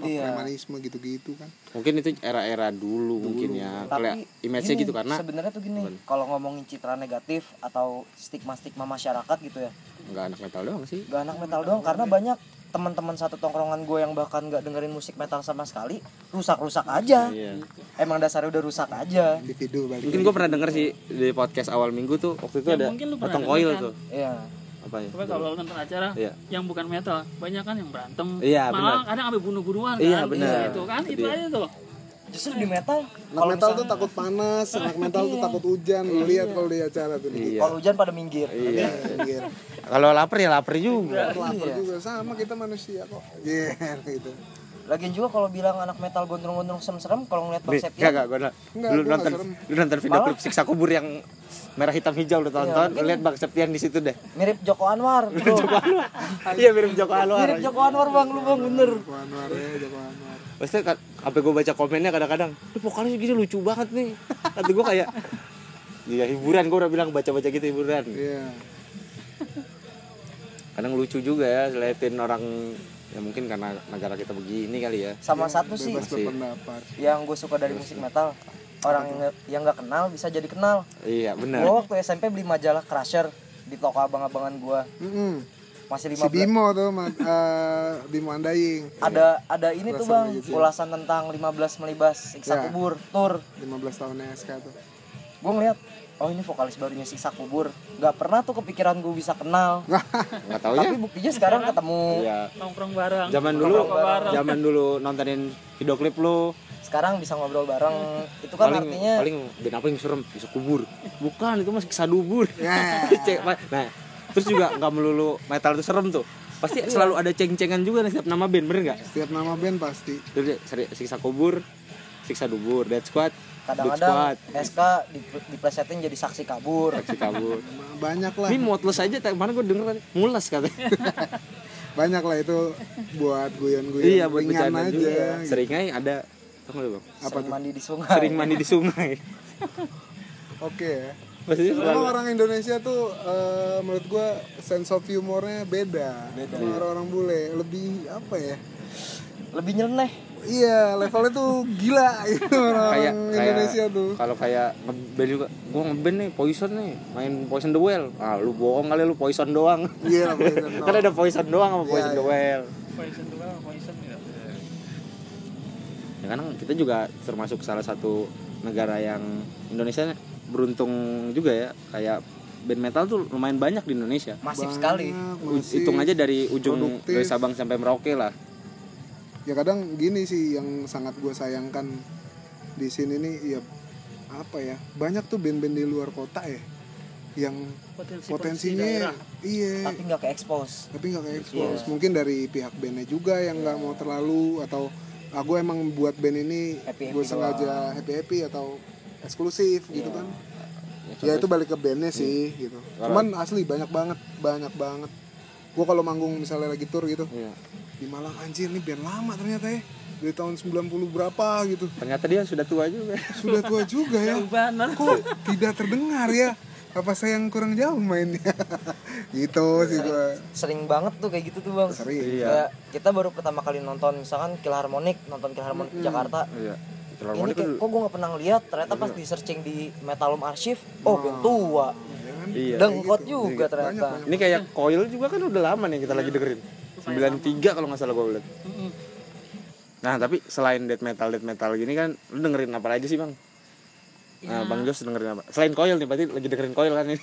[SPEAKER 3] apa
[SPEAKER 2] Iya.
[SPEAKER 3] premanisme gitu-gitu kan
[SPEAKER 1] mungkin itu era-era dulu, mungkin ya kayak image-nya
[SPEAKER 2] gini,
[SPEAKER 1] gitu karena
[SPEAKER 2] sebenarnya tuh gini kalau ngomongin citra negatif atau stigma stigma masyarakat gitu ya
[SPEAKER 1] nggak anak metal doang sih
[SPEAKER 2] gak anak metal doang karena banyak teman-teman satu tongkrongan gue yang bahkan gak dengerin musik metal sama sekali rusak-rusak aja
[SPEAKER 1] Iya.
[SPEAKER 2] emang dasarnya udah rusak aja
[SPEAKER 3] individu balik
[SPEAKER 1] mungkin gue pernah denger sih di podcast awal minggu tuh waktu itu
[SPEAKER 4] Ya,
[SPEAKER 1] ada
[SPEAKER 4] mungkin lu pernah
[SPEAKER 1] potong
[SPEAKER 4] denger
[SPEAKER 1] koil
[SPEAKER 4] kan.
[SPEAKER 1] tuh
[SPEAKER 2] iya
[SPEAKER 1] apa ya
[SPEAKER 4] Coba kalau nonton acara
[SPEAKER 1] Iya.
[SPEAKER 4] yang bukan metal, banyak kan yang berantem,
[SPEAKER 1] Iya,
[SPEAKER 4] malah kadang sampai bunuh-bunuhan kan,
[SPEAKER 1] Iya, benar.
[SPEAKER 4] itu kan itu aja tuh.
[SPEAKER 2] justru di metal
[SPEAKER 3] anak metal tuh takut panas anak metal tuh takut hujan lu lihat kalau di acara tuh di
[SPEAKER 1] Iya.
[SPEAKER 2] kalau hujan pada minggir
[SPEAKER 1] iya
[SPEAKER 3] pinggir
[SPEAKER 1] kalau lapar ya lapar juga
[SPEAKER 3] lapar juga sama kita manusia kok iya gitu
[SPEAKER 2] lagian juga kalau bilang anak metal gondrong-gondrong serem-serem kalau ngeliat
[SPEAKER 1] Bre,
[SPEAKER 2] konsepnya
[SPEAKER 1] gak gak gue lu
[SPEAKER 3] gua
[SPEAKER 1] nonton
[SPEAKER 3] nggak serem.
[SPEAKER 1] lu nonton video klip siksa kubur yang merah hitam hijau
[SPEAKER 4] Iya,
[SPEAKER 1] lu tonton lu lihat bang Septian di situ deh
[SPEAKER 2] mirip Joko Anwar bro.
[SPEAKER 1] iya mirip Joko Anwar
[SPEAKER 2] mirip Joko Anwar bang lu bang bener
[SPEAKER 3] Joko Anwar ya Joko Anwar
[SPEAKER 1] Maksudnya kan, sampai gue baca komennya kadang-kadang, lu vokalis gini lucu banget nih. Kata gue kayak, iya hiburan gue udah bilang baca-baca gitu hiburan.
[SPEAKER 3] iya
[SPEAKER 1] Kadang lucu juga ya selain orang ya mungkin karena negara kita begini kali ya.
[SPEAKER 2] sama satu sih
[SPEAKER 3] bebas berpendapat
[SPEAKER 2] yang gue suka dari musik metal orang yang yang nggak kenal bisa jadi kenal
[SPEAKER 1] Iya benar.
[SPEAKER 2] gue waktu SMP beli majalah Crusher di toko abang-abangan gue
[SPEAKER 3] Mm-mm.
[SPEAKER 2] masih
[SPEAKER 3] si
[SPEAKER 2] 15
[SPEAKER 3] Bimo tuh ma- eh, Bimo Andaying
[SPEAKER 2] ada ada ini tuh
[SPEAKER 3] Ulasan
[SPEAKER 1] ya.
[SPEAKER 2] bang
[SPEAKER 3] lagi sih.
[SPEAKER 2] ulasan tentang 15 melibas siksa
[SPEAKER 3] Ya.
[SPEAKER 2] kubur tour
[SPEAKER 3] 15 tahunnya SK tuh
[SPEAKER 2] gue ngeliat oh ini vokalis barunya siksa kubur nggak pernah tuh kepikiran gue bisa kenal
[SPEAKER 1] Enggak tahu ya.
[SPEAKER 2] tapi buktinya sekarang ketemu
[SPEAKER 1] Iya.
[SPEAKER 4] Nongkrong bareng.
[SPEAKER 1] Zaman dulu
[SPEAKER 4] nongkrong bareng.
[SPEAKER 1] zaman dulu nontonin video klip lu
[SPEAKER 2] sekarang bisa ngobrol bareng itu kan
[SPEAKER 1] Hmm. paling
[SPEAKER 2] artinya
[SPEAKER 1] paling band apa yang serem bisa kubur bukan itu masih sadubur
[SPEAKER 3] Ya.
[SPEAKER 1] Cek, Pak. nah terus juga nggak melulu metal itu serem tuh pasti selalu ada ceng-cengan juga nih setiap nama band bener nggak
[SPEAKER 3] setiap nama band pasti
[SPEAKER 1] Terus dia seri- siksa kubur, siksa dubur, dead squad, dead
[SPEAKER 2] kadang-kadang
[SPEAKER 1] squad,
[SPEAKER 2] SK di- diplesetin jadi saksi kabur
[SPEAKER 1] si kabur.
[SPEAKER 3] banyak lah
[SPEAKER 1] Ini motless aja, tadi- mana gue denger tadi, mulas katanya.
[SPEAKER 3] banyak lah itu buat guyon-guyon
[SPEAKER 1] iya buat
[SPEAKER 3] ringan
[SPEAKER 1] bercanda
[SPEAKER 3] aja
[SPEAKER 1] juga. Seringai ada, tau nggak lu, bang?
[SPEAKER 2] sering mandi di sungai
[SPEAKER 1] Sering mandi di sungai.
[SPEAKER 3] oke ya
[SPEAKER 1] Pasti
[SPEAKER 3] Emang orang Indonesia tuh eh, menurut gua sense of humornya beda,
[SPEAKER 1] iya.
[SPEAKER 3] sama orang-orang bule lebih apa ya
[SPEAKER 2] lebih nyeleneh
[SPEAKER 3] iya levelnya tuh gila
[SPEAKER 1] kayak
[SPEAKER 3] gitu orang
[SPEAKER 1] kayak
[SPEAKER 3] Indonesia tuh
[SPEAKER 1] kalau kayak ngeband juga gue ngeband nih poison nih main poison the well ah lu bohong kali lu poison doang
[SPEAKER 3] iya bener.
[SPEAKER 1] kan ada poison doang
[SPEAKER 3] Iya,
[SPEAKER 1] sama poison the well
[SPEAKER 4] Poison dulu, poison gitu.
[SPEAKER 1] ya kan kita juga termasuk salah satu negara yang Indonesia beruntung juga ya kayak band metal tuh lumayan banyak di Indonesia
[SPEAKER 2] masif sekali
[SPEAKER 1] U-
[SPEAKER 3] masih-
[SPEAKER 1] hitung aja dari ujung
[SPEAKER 3] produktif.
[SPEAKER 1] dari Sabang sampai Merauke lah
[SPEAKER 3] ya kadang gini sih yang sangat gue sayangkan di sini nih ya apa ya banyak tuh band-band di luar kota ya yang
[SPEAKER 4] Potensi
[SPEAKER 3] potensinya iya
[SPEAKER 2] tapi nggak ke expose
[SPEAKER 3] tapi nggak kayak expose mungkin dari pihak bandnya juga yang nggak mau terlalu atau aku emang buat band ini
[SPEAKER 2] Happy-happy
[SPEAKER 3] gue sengaja happy happy atau eksklusif gitu kan ya itu balik ke bandnya sih gitu cuman asli banyak banget banyak banget gue kalau manggung misalnya lagi tour gitu
[SPEAKER 1] Iya.
[SPEAKER 3] di Malang anjir ini band lama ternyata ya dari tahun 90 berapa gitu
[SPEAKER 1] ternyata dia sudah tua juga
[SPEAKER 3] sudah tua juga ya
[SPEAKER 4] Benar.
[SPEAKER 3] kok tidak terdengar ya apa saya yang kurang jauh mainnya gitu sih gue
[SPEAKER 2] sering banget tuh kayak gitu tuh bang
[SPEAKER 3] Sering.
[SPEAKER 2] Kayak kita baru pertama kali nonton misalkan Kilharmonic nonton Kilharmonic Jakarta
[SPEAKER 1] iya
[SPEAKER 2] ini kayak, kok gue nggak pernah ngeliat ternyata pas
[SPEAKER 3] Iya.
[SPEAKER 2] di searching di Metalum Archive oh band tua
[SPEAKER 1] iya
[SPEAKER 2] dengkot
[SPEAKER 3] gitu.
[SPEAKER 2] juga ternyata
[SPEAKER 1] ini kayak coil juga kan udah lama nih kita lagi dengerin 93 kalau nggak salah gue liat
[SPEAKER 4] Mm-mm.
[SPEAKER 1] nah tapi selain death metal death metal gini kan lu dengerin apa aja sih bang Nah, Bang Jos dengerin apa? Selain Coil nih, berarti lagi dengerin Coil kan ini.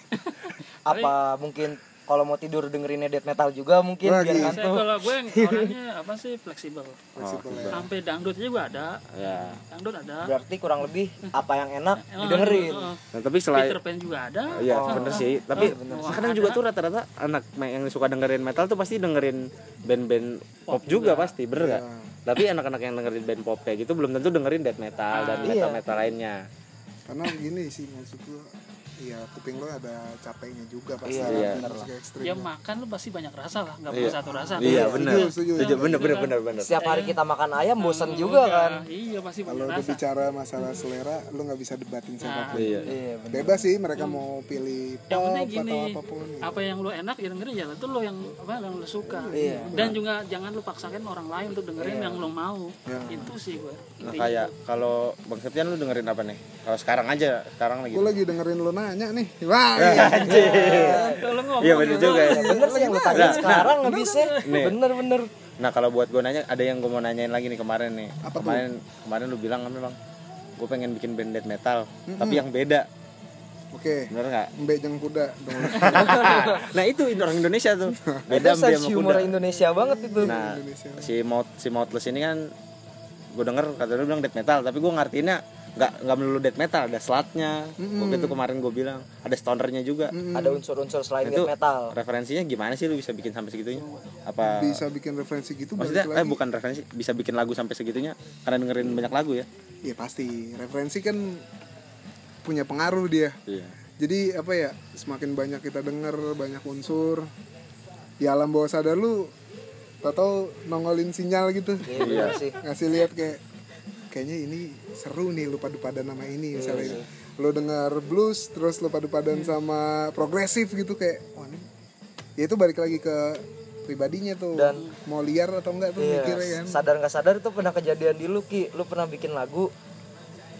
[SPEAKER 2] apa mungkin kalau mau tidur dengerinnya death metal juga mungkin
[SPEAKER 3] Wah, gitu.
[SPEAKER 2] biar
[SPEAKER 3] gila.
[SPEAKER 4] Saya
[SPEAKER 2] ngantuk.
[SPEAKER 4] kalau gue yang orangnya apa sih fleksibel.
[SPEAKER 3] Fleksibel ya.
[SPEAKER 4] Sampai dangdut aja gue ada.
[SPEAKER 1] ya
[SPEAKER 4] Dangdut ada.
[SPEAKER 2] Berarti kurang lebih apa yang enak
[SPEAKER 4] Enak,
[SPEAKER 2] didengerin.
[SPEAKER 4] heeh.
[SPEAKER 1] nah, tapi
[SPEAKER 4] Peter
[SPEAKER 1] selain
[SPEAKER 4] Pan juga ada.
[SPEAKER 1] Iya bener sih Tapi
[SPEAKER 4] bener.
[SPEAKER 1] sekarang juga tuh rata-rata Anak me- yang suka dengerin metal tuh pasti dengerin Band-band pop juga pasti Bener gak? Tapi anak-anak yang dengerin band pop kayak gitu Belum tentu dengerin death metal Dan metal-metal lainnya
[SPEAKER 3] karena gini sih maksud gua ya kuping lo ada capeknya juga pasti
[SPEAKER 1] Iya,
[SPEAKER 3] Yang harus ke ekstrim
[SPEAKER 4] Ya makan lu pasti banyak rasa lah, nggak perlu satu rasa.
[SPEAKER 1] Iya
[SPEAKER 3] setuju,
[SPEAKER 1] bener
[SPEAKER 3] setuju.
[SPEAKER 1] Setuju, Bener bener bener bener
[SPEAKER 2] Setiap hari kita makan ayam bosan juga kan.
[SPEAKER 4] Nah, Iya pasti
[SPEAKER 3] kalau
[SPEAKER 4] banyak
[SPEAKER 3] udah
[SPEAKER 4] rasa.
[SPEAKER 3] bicara masalah selera lo nggak bisa debatin siapapun
[SPEAKER 1] Iya
[SPEAKER 2] Iya, bener.
[SPEAKER 3] bebas sih mereka mau pilih
[SPEAKER 4] Nah. Yang
[SPEAKER 3] pop
[SPEAKER 4] penting
[SPEAKER 3] atau
[SPEAKER 4] gini,
[SPEAKER 3] apapun
[SPEAKER 4] apa yang lu enak ya dengerin ya itu lo yang apa yang lu suka. Dan juga jangan lu paksakan orang lain untuk dengerin yang lo mau. Itu sih gue.
[SPEAKER 1] Nah kayak kalau Bang Septian lu dengerin apa nih? Kalau sekarang aja, sekarang lagi.
[SPEAKER 3] gue lagi dengerin lo nanya nih wah
[SPEAKER 1] Eh.
[SPEAKER 3] iya.
[SPEAKER 4] Kalau ngomong
[SPEAKER 1] Iya bener juga ya.
[SPEAKER 2] Bener sih yang lu tanya sekarang habisnya. Bener bener.
[SPEAKER 1] Nah kalau buat gue nanya, ada yang gue mau nanyain lagi nih kemarin nih. kemarin kemarin lu bilang kan bang, gue pengen bikin band death metal, tapi yang beda,
[SPEAKER 3] oke
[SPEAKER 1] bener nggak?
[SPEAKER 3] Mbejeng kuda dong.
[SPEAKER 1] nah itu orang Indonesia tuh beda dia
[SPEAKER 2] Itu sense
[SPEAKER 1] sama
[SPEAKER 2] humor
[SPEAKER 1] kuda.
[SPEAKER 2] Indonesia banget itu.
[SPEAKER 1] Nah si Mout si Moutless ini kan gue denger kata lu bilang death metal, tapi gue ngertiinnya nggak nggak melulu death metal, ada slutnya. Waktu itu kemarin gue bilang ada stonernya juga.
[SPEAKER 2] Ada unsur-unsur selain
[SPEAKER 1] Itu
[SPEAKER 2] death metal.
[SPEAKER 1] referensinya gimana sih lu bisa bikin sampai segitunya? Apa
[SPEAKER 3] bisa bikin referensi gitu
[SPEAKER 1] maksudnya
[SPEAKER 3] balik
[SPEAKER 1] eh
[SPEAKER 3] lagi
[SPEAKER 1] bukan referensi bisa bikin lagu sampai segitunya karena dengerin banyak lagu ya?
[SPEAKER 3] ya pasti referensi kan punya pengaruh dia
[SPEAKER 1] Iya.
[SPEAKER 3] jadi apa ya semakin banyak kita denger banyak unsur ya alam bawah sadar lu tau nongolin sinyal gitu
[SPEAKER 2] Iya bener sih.
[SPEAKER 3] ngasih lihat kayak kayaknya ini seru nih lu padu padan nama ini
[SPEAKER 2] Iya
[SPEAKER 3] misalnya lu denger blues terus lu padu padan sama progresif gitu kayak wah ini ya itu balik lagi ke pribadinya tuh
[SPEAKER 2] Dan-
[SPEAKER 3] mau liar atau enggak tuh
[SPEAKER 2] Iya,
[SPEAKER 3] mikirnya kan
[SPEAKER 2] sadar nggak sadar itu pernah kejadian di Luki lu pernah bikin lagu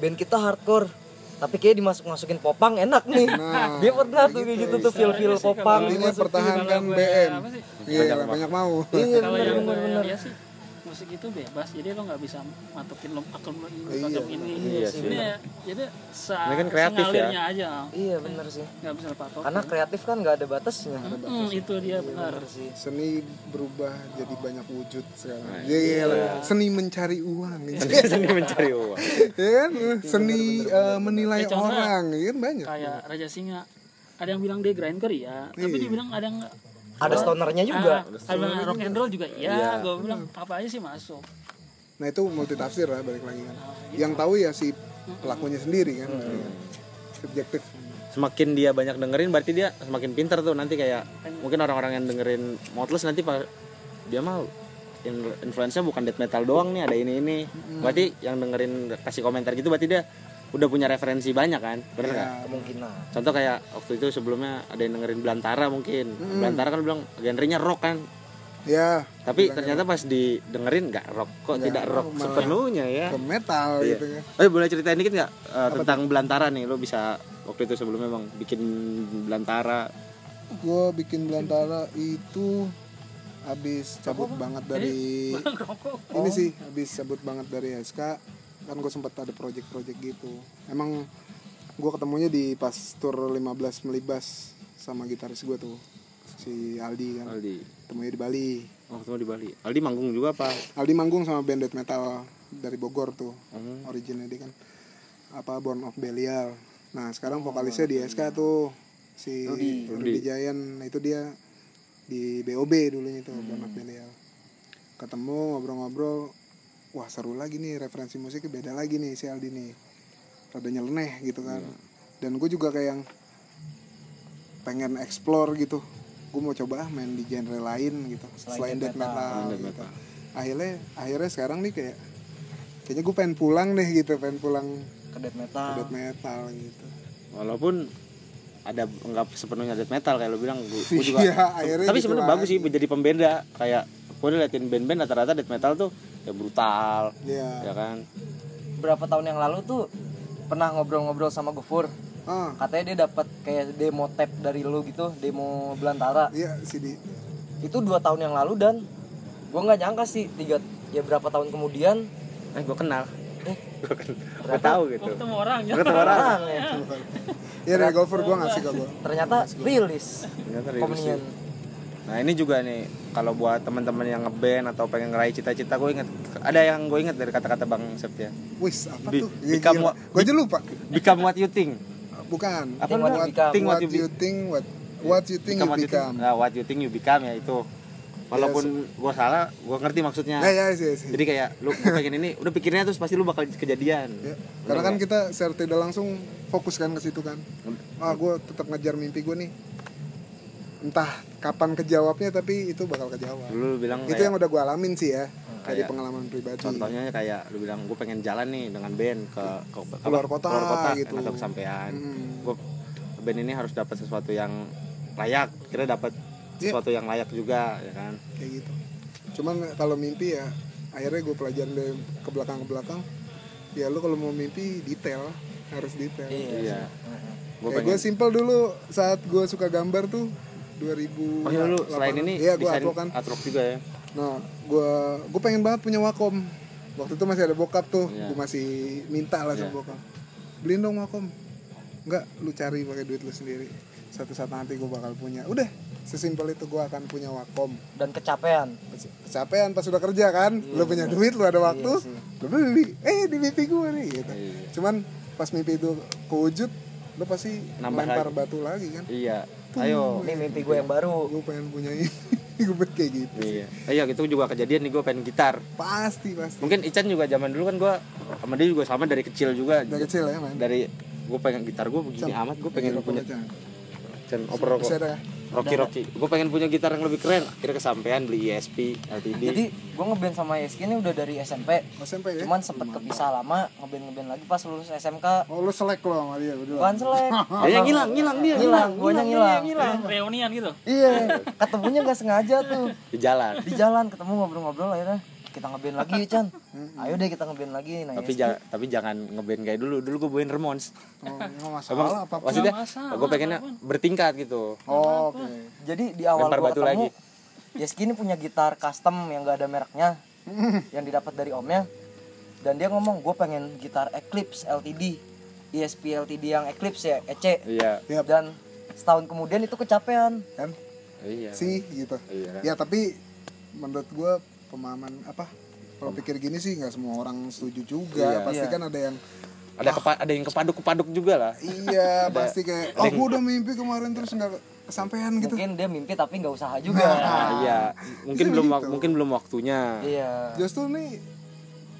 [SPEAKER 2] band kita hardcore tapi kayak dimasuk masukin popang enak nih
[SPEAKER 3] Nah,
[SPEAKER 2] dia pernah tuh kayak gitu tuh feel feel popang
[SPEAKER 3] intinya pertahankan BM
[SPEAKER 4] apa sih?
[SPEAKER 3] iya banyak mau
[SPEAKER 2] iya
[SPEAKER 4] kalau
[SPEAKER 2] bener
[SPEAKER 4] yang
[SPEAKER 2] bener
[SPEAKER 4] gue
[SPEAKER 2] bener
[SPEAKER 4] lihat sih musik itu bebas jadi lo nggak bisa matokin lo pakem lo ini pakem ini
[SPEAKER 1] Iya sih.
[SPEAKER 4] ini ya, jadi se
[SPEAKER 1] Ini kan kreatif ya.
[SPEAKER 4] sengalirnya aja
[SPEAKER 2] iya bener sih
[SPEAKER 4] nggak bisa patok
[SPEAKER 2] karena kreatif kan nggak ada batasnya
[SPEAKER 4] hmm, itu dia benar
[SPEAKER 2] sih
[SPEAKER 3] seni berubah jadi banyak wujud sekarang Iya, iya, iya. seni mencari uang
[SPEAKER 1] Dia sendiri mencari uang.
[SPEAKER 3] ya kan seni eh, menilai orang ya kan banyak
[SPEAKER 4] kayak raja singa ada yang bilang dia grindcore iya tapi dia bilang ada yang
[SPEAKER 2] ada stonernya juga
[SPEAKER 4] ah, ada yang rock and roll juga iya gue bilang apa aja sih masuk
[SPEAKER 3] nah itu multi tafsir lah balik lagi kan yang tahu ya si pelakunya sendiri kan subjektif
[SPEAKER 1] Semakin dia banyak dengerin berarti dia semakin pinter tuh nanti kayak mungkin orang-orang yang dengerin Moutless nanti pa- dia mau influence bukan death metal doang nih ada ini ini. Berarti yang dengerin kasih komentar gitu berarti dia udah punya referensi banyak kan? Bener nggak?
[SPEAKER 2] kemungkinan
[SPEAKER 1] Contoh kayak waktu itu sebelumnya ada yang dengerin Belantara mungkin. Belantara kan bilang genrenya rock kan.
[SPEAKER 3] ya
[SPEAKER 1] Tapi ternyata pas didengerin nggak rock kok tidak rock sepenuhnya ya.
[SPEAKER 3] ke metal gitu kan
[SPEAKER 1] Eh boleh ceritain dikit nggak eh, tentang Belantara nih? Lo bisa waktu itu sebelumnya bang bikin Belantara.
[SPEAKER 3] gue bikin belantara itu habis cabut banget dari
[SPEAKER 4] rokok
[SPEAKER 3] Iya. ini sih habis cabut banget dari SK kan gue sempat ada project-project gitu emang gue ketemunya di pas tour 15 melibas sama gitaris gue tuh si Aldi kan
[SPEAKER 1] Aldi.
[SPEAKER 3] ketemunya di Bali
[SPEAKER 1] Oh ketemu di Bali. Aldi manggung juga apa?
[SPEAKER 3] Aldi manggung sama band death metal dari Bogor tuh originnya dia kan apa Born of Belial nah sekarang vokalisnya di SK tuh si Rudy, Giant Nah, itu dia di BOB dulunya tuh Born of Belial ketemu ngobrol-ngobrol wah seru lagi nih referensi musiknya beda lagi nih si Aldi nih rada nyeleneh gitu kan dan gue juga kayak yang pengen explore gitu gue mau coba ah main di genre lain gitu selain, death metal, gitu. akhirnya akhirnya sekarang nih kayak kayaknya gue pengen pulang deh gitu pengen pulang
[SPEAKER 2] ke death
[SPEAKER 3] ke
[SPEAKER 2] metal
[SPEAKER 3] death metal gitu
[SPEAKER 1] Walaupun ada nggak sepenuhnya death metal kayak lo bilang. Gue gue juga.
[SPEAKER 3] Iya, akhirnya
[SPEAKER 1] Tapi
[SPEAKER 3] gitu
[SPEAKER 1] sebenarnya
[SPEAKER 3] lah.
[SPEAKER 1] bagus sih jadi pembeda. Kayak gue udah liatin band-band rata-rata death metal tuh ya brutal.
[SPEAKER 3] Iya.
[SPEAKER 1] Ya kan.
[SPEAKER 2] berapa tahun yang lalu tuh pernah ngobrol-ngobrol sama Gofur
[SPEAKER 3] ah
[SPEAKER 2] katanya dia dapat kayak demo tape dari lu gitu demo Belantara
[SPEAKER 3] iya CD
[SPEAKER 2] itu dua tahun yang lalu dan gue nggak nyangka sih tiga ya berapa tahun kemudian
[SPEAKER 1] Eh gue kenal.
[SPEAKER 2] eh
[SPEAKER 1] nggak tahu gitu
[SPEAKER 4] ketemu orang ya
[SPEAKER 1] ketemu orang
[SPEAKER 2] orang ya
[SPEAKER 3] Ya dari golfer gue ngasih ke gue
[SPEAKER 2] ternyata rilis
[SPEAKER 1] Ternyata rilis
[SPEAKER 2] komenian
[SPEAKER 1] Nah ini juga nih kalau buat teman-teman yang ngeband atau pengen ngeraih cita-cita gue inget ada yang gue inget dari kata-kata Bang Septia.
[SPEAKER 3] Wis apa
[SPEAKER 1] Bi-
[SPEAKER 3] tuh?
[SPEAKER 1] become what-
[SPEAKER 3] Gue aja lupa
[SPEAKER 1] Become what you think.
[SPEAKER 3] Bukan
[SPEAKER 1] Apa
[SPEAKER 2] what you become.
[SPEAKER 1] Think what
[SPEAKER 3] what
[SPEAKER 1] you be-
[SPEAKER 3] you think What, what you think you
[SPEAKER 1] what you think.
[SPEAKER 3] become
[SPEAKER 1] Nah, what you think you become ya itu. Walaupun gue salah, gue ngerti maksudnya.
[SPEAKER 3] Ya ya sih sih
[SPEAKER 1] Jadi kayak lu lu pengen ini, udah pikirnya terus pasti lu bakal kejadian.
[SPEAKER 3] Ya, Karena kan kita secara tidak langsung fokus kan ke situ kan. Ah, gue tetap ngejar mimpi gue nih. Entah kapan kejawabnya tapi itu bakal kejawab.
[SPEAKER 1] Dulu lu bilang Hmm,
[SPEAKER 3] itu
[SPEAKER 1] kayak- Hmm,
[SPEAKER 3] yang udah gue alamin sih ya dari
[SPEAKER 1] kayak-
[SPEAKER 3] pengalaman pribadi.
[SPEAKER 1] contohnya kayak lu bilang gue pengen jalan nih dengan band ke ke apa?
[SPEAKER 3] Keluar kota gitu.
[SPEAKER 1] enak kesampaian
[SPEAKER 3] Mm.
[SPEAKER 1] gue band ini harus dapat sesuatu yang layak kira dapat
[SPEAKER 3] Iya.
[SPEAKER 1] sesuatu yang layak juga ya kan
[SPEAKER 3] Kayak gitu. Cuman kalau mimpi ya akhirnya gue pelajaran dari ke belakang ke belakang. Ya lu kalau mau mimpi detail harus detail.
[SPEAKER 1] iya gue pengen
[SPEAKER 3] Kayak gue simple dulu saat gue suka gambar tuh 2000
[SPEAKER 1] oh iya lu selain ini
[SPEAKER 3] ya gue
[SPEAKER 1] desain
[SPEAKER 3] upload kan
[SPEAKER 1] artwork juga ya
[SPEAKER 3] Nah, gua gua pengen banget punya Wacom. Waktu itu masih ada bokap tuh,
[SPEAKER 1] Iya.
[SPEAKER 3] gua masih minta lah sama bokap. Beliin dong Wacom. Enggak, lu cari pakai duit lu sendiri. Satu saat nanti gua bakal punya. Udah, sesimpel itu gua akan punya Wacom.
[SPEAKER 2] dan kecapean
[SPEAKER 3] Kecapean pas udah kerja kan,
[SPEAKER 1] Iya,
[SPEAKER 3] lu punya duit, lu ada waktu, lu beli. Eh, di mimpi gua nih gitu.
[SPEAKER 1] Iya.
[SPEAKER 3] Cuman pas mimpi itu kewujud, lu pasti
[SPEAKER 1] Nambah
[SPEAKER 3] lempar batu lagi kan.
[SPEAKER 1] iya ayo
[SPEAKER 2] ini mimpi gue yang baru
[SPEAKER 3] Gua pengen punya ini. gua kayak gitu.
[SPEAKER 1] iya iya gitu juga kejadian nih gue pengen gitar
[SPEAKER 3] Pasti, pasti.
[SPEAKER 1] mungkin Ican juga zaman dulu kan gue sama dia juga sama dari kecil juga
[SPEAKER 3] Dari kecil ya, main.
[SPEAKER 1] dari gue pengen gitar gue begini amat gue
[SPEAKER 2] Iya,
[SPEAKER 3] Iya,
[SPEAKER 1] pengen punya Ican oper rokok
[SPEAKER 3] Bisa ada ya?
[SPEAKER 1] Rocky Rocky, gue pengen punya gitar yang lebih keren. Akhirnya kesampaian beli E ESP, LTD.
[SPEAKER 2] jadi gue ngeband sama Yeski ini udah dari SMP
[SPEAKER 3] SMP ya?
[SPEAKER 2] cuman sempet kepisah lama ngeband ngeband lagi pas lulus SMK
[SPEAKER 3] Oh lu selek lo sama dia berdua.
[SPEAKER 2] bukan selek
[SPEAKER 1] Dia yang hilang, hilang dia.
[SPEAKER 2] Ngilang, guanya ngilang.
[SPEAKER 4] reunian gitu
[SPEAKER 2] iya ketemunya gak sengaja tuh
[SPEAKER 1] Di jalan.
[SPEAKER 2] di jalan ketemu ngobrol-ngobrol akhirnya kita ngeband lagi Chan ayo deh kita ngeband lagi nah
[SPEAKER 1] Tapi jangan, tapi jangan ngeband kayak dulu. Dulu gue buain Remons.
[SPEAKER 3] Oh, nggak
[SPEAKER 1] Emang
[SPEAKER 3] masalah apa apa.
[SPEAKER 1] maksudnya,
[SPEAKER 4] Nggak masalah,
[SPEAKER 2] Ah,
[SPEAKER 1] gue pengennya bertingkat gitu.
[SPEAKER 3] Oh, oke.
[SPEAKER 2] jadi di awal
[SPEAKER 1] Lempar
[SPEAKER 2] gua
[SPEAKER 1] batu
[SPEAKER 2] ketemu
[SPEAKER 1] lagi.
[SPEAKER 2] Yeski ini punya gitar custom yang gak ada mereknya yang didapat dari omnya dan dia ngomong gue pengen gitar Eclipse LTD ESP LTD yang Eclipse ya EC
[SPEAKER 1] Iya,
[SPEAKER 3] Yap.
[SPEAKER 2] dan setahun kemudian itu kecapean
[SPEAKER 3] Kan
[SPEAKER 1] iya.
[SPEAKER 3] sih gitu.
[SPEAKER 1] Iya.
[SPEAKER 3] Ya tapi menurut gua pemahaman apa? Kalau pikir gini sih nggak semua orang setuju juga.
[SPEAKER 1] Iya.
[SPEAKER 3] Pasti
[SPEAKER 2] Iya.
[SPEAKER 3] kan ada yang
[SPEAKER 1] Ada kepa- ada yang kepaduk-kepaduk juga lah.
[SPEAKER 3] iya pasti kayak oh gua udah mimpi kemarin terus nggak kesampaian gitu.
[SPEAKER 2] mungkin dia mimpi tapi nggak usaha juga
[SPEAKER 1] Nah, iya, mungkin belum wak- mungkin belum waktunya.
[SPEAKER 2] Ah. gitu. iya
[SPEAKER 3] Justru nih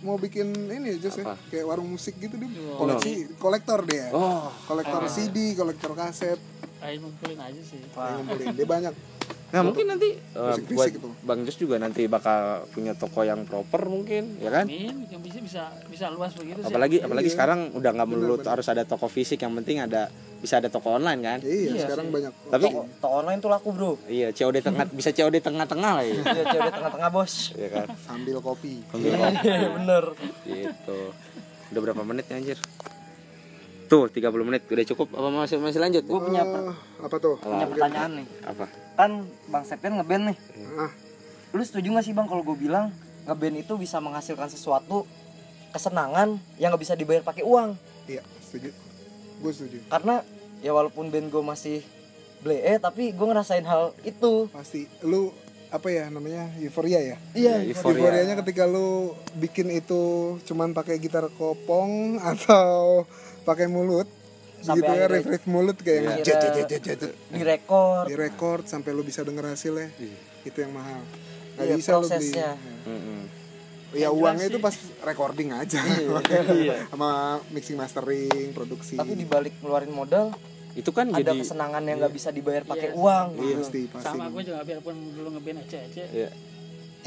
[SPEAKER 3] mau bikin ini just ya,
[SPEAKER 1] Apa?
[SPEAKER 3] kayak warung musik gitu dia koleksi kolektor dia
[SPEAKER 1] Oh,
[SPEAKER 3] kolektor CD kolektor kaset
[SPEAKER 4] ayo ngumpulin aja sih
[SPEAKER 3] yang ngumpulin dia banyak
[SPEAKER 1] nah mungkin nanti eh,
[SPEAKER 3] Musik
[SPEAKER 1] buat
[SPEAKER 3] fisik itu.
[SPEAKER 1] Bang Jos juga nanti bakal punya toko yang proper mungkin, ya kan?
[SPEAKER 4] Amin, yang bisa bisa bisa luas begitu sih.
[SPEAKER 1] apalagi
[SPEAKER 3] Iya.
[SPEAKER 1] apalagi sekarang udah nggak melulu harus ada toko fisik yang penting ada bisa ada toko online kan
[SPEAKER 3] iya, sekarang banyak
[SPEAKER 1] tapi
[SPEAKER 2] Toko- toko online tuh laku bro
[SPEAKER 1] iya COD tengah bisa COD tengah-tengah lah ya
[SPEAKER 2] Iya, cewek di tengah-tengah bos.
[SPEAKER 1] Iya kan Oh,
[SPEAKER 3] sambil kopi
[SPEAKER 2] Iya, bener.
[SPEAKER 1] gitu udah berapa menit nih, anjir tuh 30 menit udah cukup apa masih masih lanjut
[SPEAKER 2] Gue punya per-
[SPEAKER 3] Eh, apa tuh
[SPEAKER 2] punya pertanyaan nih.
[SPEAKER 1] apa
[SPEAKER 2] Kan Bang Septian ngeband nih.
[SPEAKER 3] Ah,
[SPEAKER 2] Lu setuju gak sih Bang kalau gue bilang ngeband itu bisa menghasilkan sesuatu kesenangan yang gak bisa dibayar pakai uang?
[SPEAKER 3] iya setuju gue setuju
[SPEAKER 2] Karena ya walaupun band gue masih blee tapi gue ngerasain hal itu.
[SPEAKER 3] pasti lu apa ya namanya euforia ya
[SPEAKER 1] iya euforia
[SPEAKER 3] euforianya ketika lu bikin itu cuman pakai gitar kopong atau pakai mulut
[SPEAKER 2] Sampai
[SPEAKER 3] gitu ya
[SPEAKER 2] akhirnya- Iya.
[SPEAKER 3] riff riff mulut kayak yang jet, jet, jet, jet, jet, jet.
[SPEAKER 2] Direkor.
[SPEAKER 3] di record sampai lu bisa denger hasilnya itu yang mahal nggak
[SPEAKER 2] Iya,
[SPEAKER 3] bisa lu beli
[SPEAKER 2] prosesnya.
[SPEAKER 1] Mm-mm.
[SPEAKER 3] ya uangnya itu pas recording aja sama mixing mastering produksi
[SPEAKER 2] Tapi dibalik ngeluarin modal
[SPEAKER 1] itu kan
[SPEAKER 2] ada
[SPEAKER 1] jadi
[SPEAKER 2] kesenangan yang gak bisa dibayar pakai uang.
[SPEAKER 3] iya pasti pasti
[SPEAKER 4] sama gue juga biarpun dulu ngeband aja aja.
[SPEAKER 1] iya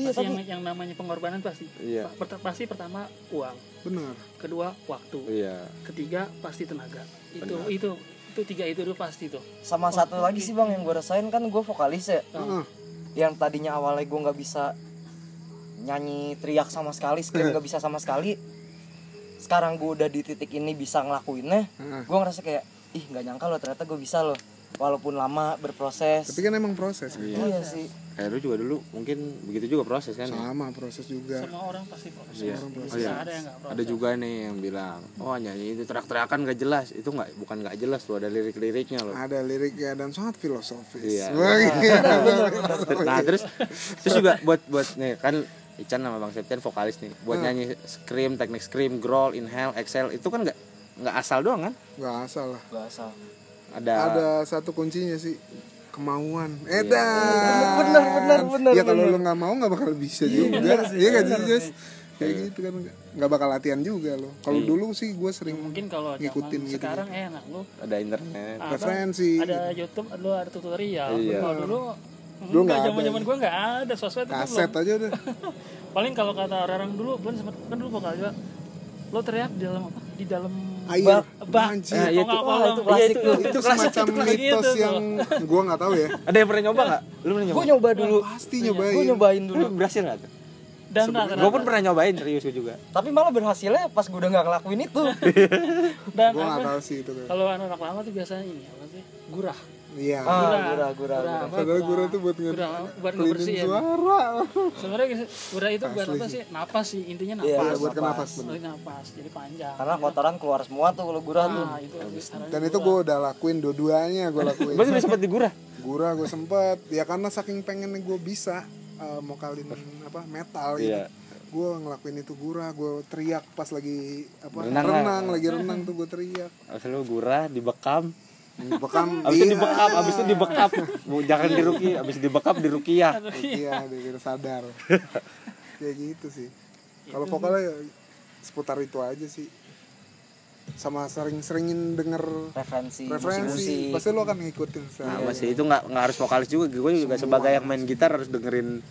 [SPEAKER 2] Iya,
[SPEAKER 4] pasti yang, yang namanya pengorbanan pasti.
[SPEAKER 1] Iya.
[SPEAKER 4] Pa- pert- pasti pertama uang,
[SPEAKER 3] benar
[SPEAKER 4] kedua waktu,
[SPEAKER 1] iya
[SPEAKER 4] ketiga pasti tenaga. Itu itu itu tiga itu dulu pasti tuh.
[SPEAKER 2] Sama satu lagi sih Bang yang gue rasain kan gue vokalis ya.
[SPEAKER 3] Heeh.
[SPEAKER 2] yang tadinya awalnya gue nggak bisa nyanyi teriak sama sekali
[SPEAKER 3] Iya.
[SPEAKER 2] scream nggak bisa sama sekali sekarang gue udah di titik ini bisa ngelakuinnya
[SPEAKER 3] Heeh.
[SPEAKER 2] gue ngerasa kayak ih nggak nyangka loh ternyata gue bisa loh walaupun lama berproses
[SPEAKER 3] Tapi kan emang proses gitu.
[SPEAKER 2] iya sih
[SPEAKER 1] kayak lu juga dulu mungkin begitu juga proses kan ya?
[SPEAKER 3] Sama proses juga.
[SPEAKER 4] semua orang pasti proses
[SPEAKER 1] Iya.
[SPEAKER 4] Bisa
[SPEAKER 1] Oh, iya.
[SPEAKER 4] ada yang nggak
[SPEAKER 1] ada juga nih yang bilang oh nyanyi itu teriak-teriakan gak jelas itu nggak bukan nggak jelas tuh ada lirik-liriknya loh
[SPEAKER 3] Ada liriknya dan sangat filosofis.
[SPEAKER 1] Iya.
[SPEAKER 3] Wah, gila.
[SPEAKER 1] nah terus terus juga buat buat nih kan Ican sama Bang Septian vokalis nih
[SPEAKER 4] Hmm.
[SPEAKER 1] buat nyanyi scream teknik scream growl inhale exhale itu kan nggak nggak asal doang kan
[SPEAKER 3] Nggak asal lah.
[SPEAKER 2] gak asal
[SPEAKER 1] ada,
[SPEAKER 3] Ada satu kuncinya sih kemauan. Edan.
[SPEAKER 2] bener, bener, bener,
[SPEAKER 3] Ya kalau lu nggak mau nggak bakal bisa juga. Iya nggak sih, Jess? Kayak gitu kan nggak bakal latihan juga loh. Kalau dulu sih gue sering
[SPEAKER 4] mungkin kalau zaman
[SPEAKER 3] ngikutin gitu.
[SPEAKER 4] sekarang eh, enak lu
[SPEAKER 1] ada internet
[SPEAKER 4] apa,
[SPEAKER 3] referensi.
[SPEAKER 4] ada YouTube lu ada tutorial
[SPEAKER 1] Iya.
[SPEAKER 4] kalau dulu
[SPEAKER 3] Dulu
[SPEAKER 4] enggak
[SPEAKER 3] nggak ada.
[SPEAKER 4] zaman zaman gue nggak ada sosmed itu
[SPEAKER 3] Kaset aja udah.
[SPEAKER 4] paling kalau kata orang-orang dulu belum sempat kan dulu vokal juga lo teriak di dalam apa di dalam
[SPEAKER 3] Air.
[SPEAKER 4] bak
[SPEAKER 3] Anjir.
[SPEAKER 1] Nah,
[SPEAKER 4] Kalau
[SPEAKER 1] iya
[SPEAKER 4] nggak
[SPEAKER 1] tuh.
[SPEAKER 4] apa,
[SPEAKER 2] Wah,
[SPEAKER 4] lo-
[SPEAKER 2] itu klasik
[SPEAKER 1] itu-
[SPEAKER 2] tuh.
[SPEAKER 3] itu
[SPEAKER 4] kelas-
[SPEAKER 3] semacam
[SPEAKER 4] itu kelas
[SPEAKER 3] mitos
[SPEAKER 4] gitu,
[SPEAKER 3] yang gue nggak tahu ya
[SPEAKER 1] ada yang pernah nyoba nggak lu pernah nyoba
[SPEAKER 2] gue nyoba dulu
[SPEAKER 3] pasti
[SPEAKER 2] gue
[SPEAKER 3] nyobain
[SPEAKER 2] nyobain
[SPEAKER 1] lu
[SPEAKER 2] dulu
[SPEAKER 1] berhasil nggak tuh
[SPEAKER 4] dan rata-rata-
[SPEAKER 1] gue pun pernah nyobain serius gue juga
[SPEAKER 2] tapi malah berhasilnya pas gue udah nggak ngelakuin itu
[SPEAKER 3] Iya.
[SPEAKER 4] dan
[SPEAKER 3] gue nggak
[SPEAKER 4] apa,
[SPEAKER 3] tahu sih itu kan
[SPEAKER 4] kalau anak lama tuh biasanya ini apa sih gurah
[SPEAKER 3] iya
[SPEAKER 2] ah gurah gurah
[SPEAKER 4] gurah apa
[SPEAKER 3] padahal gurah tuh buat nge
[SPEAKER 4] gurah buat
[SPEAKER 3] cleanin
[SPEAKER 4] ngebersihin
[SPEAKER 3] suara
[SPEAKER 4] sebenarnya gurah itu buat apa sih napas sih intinya
[SPEAKER 2] Iya,
[SPEAKER 3] Iya,
[SPEAKER 4] napas
[SPEAKER 3] buat kenafas bener
[SPEAKER 4] Selain napas jadi panjang
[SPEAKER 2] karena kotoran keluar semua tuh kalau gurah
[SPEAKER 3] Ah.
[SPEAKER 2] tuh
[SPEAKER 4] nah itu caranya.
[SPEAKER 3] dan itu gue udah lakuin dua-duanya gue lakuin
[SPEAKER 1] gue sudah sempat digurah
[SPEAKER 3] gurah gue sempet ya karena saking pengen gue bisa eh, mau kalin apa metal gitu
[SPEAKER 1] Iya.
[SPEAKER 3] gue ngelakuin itu gurah gue teriak pas lagi apa
[SPEAKER 1] Berenang
[SPEAKER 3] renang,
[SPEAKER 1] lah.
[SPEAKER 3] lagi renang tuh gue teriak
[SPEAKER 1] abis itu gurah dibekam Hmm.
[SPEAKER 3] bekam
[SPEAKER 1] abis itu
[SPEAKER 4] Iya.
[SPEAKER 1] dibekap abis itu dibekap Bu, jangan diruki abis itu dibekap dirukiah
[SPEAKER 3] iya dia kira sadar ya gitu sih kalau vokalnya ya seputar itu aja sih sama sering-seringin denger
[SPEAKER 2] referensi
[SPEAKER 3] referensi
[SPEAKER 2] Iya, musik-musik
[SPEAKER 3] pasti lo akan ngikutin sih
[SPEAKER 1] Nah, masih itu nggak nggak harus vokalis juga gue juga sebagai yang main gitar harus dengerin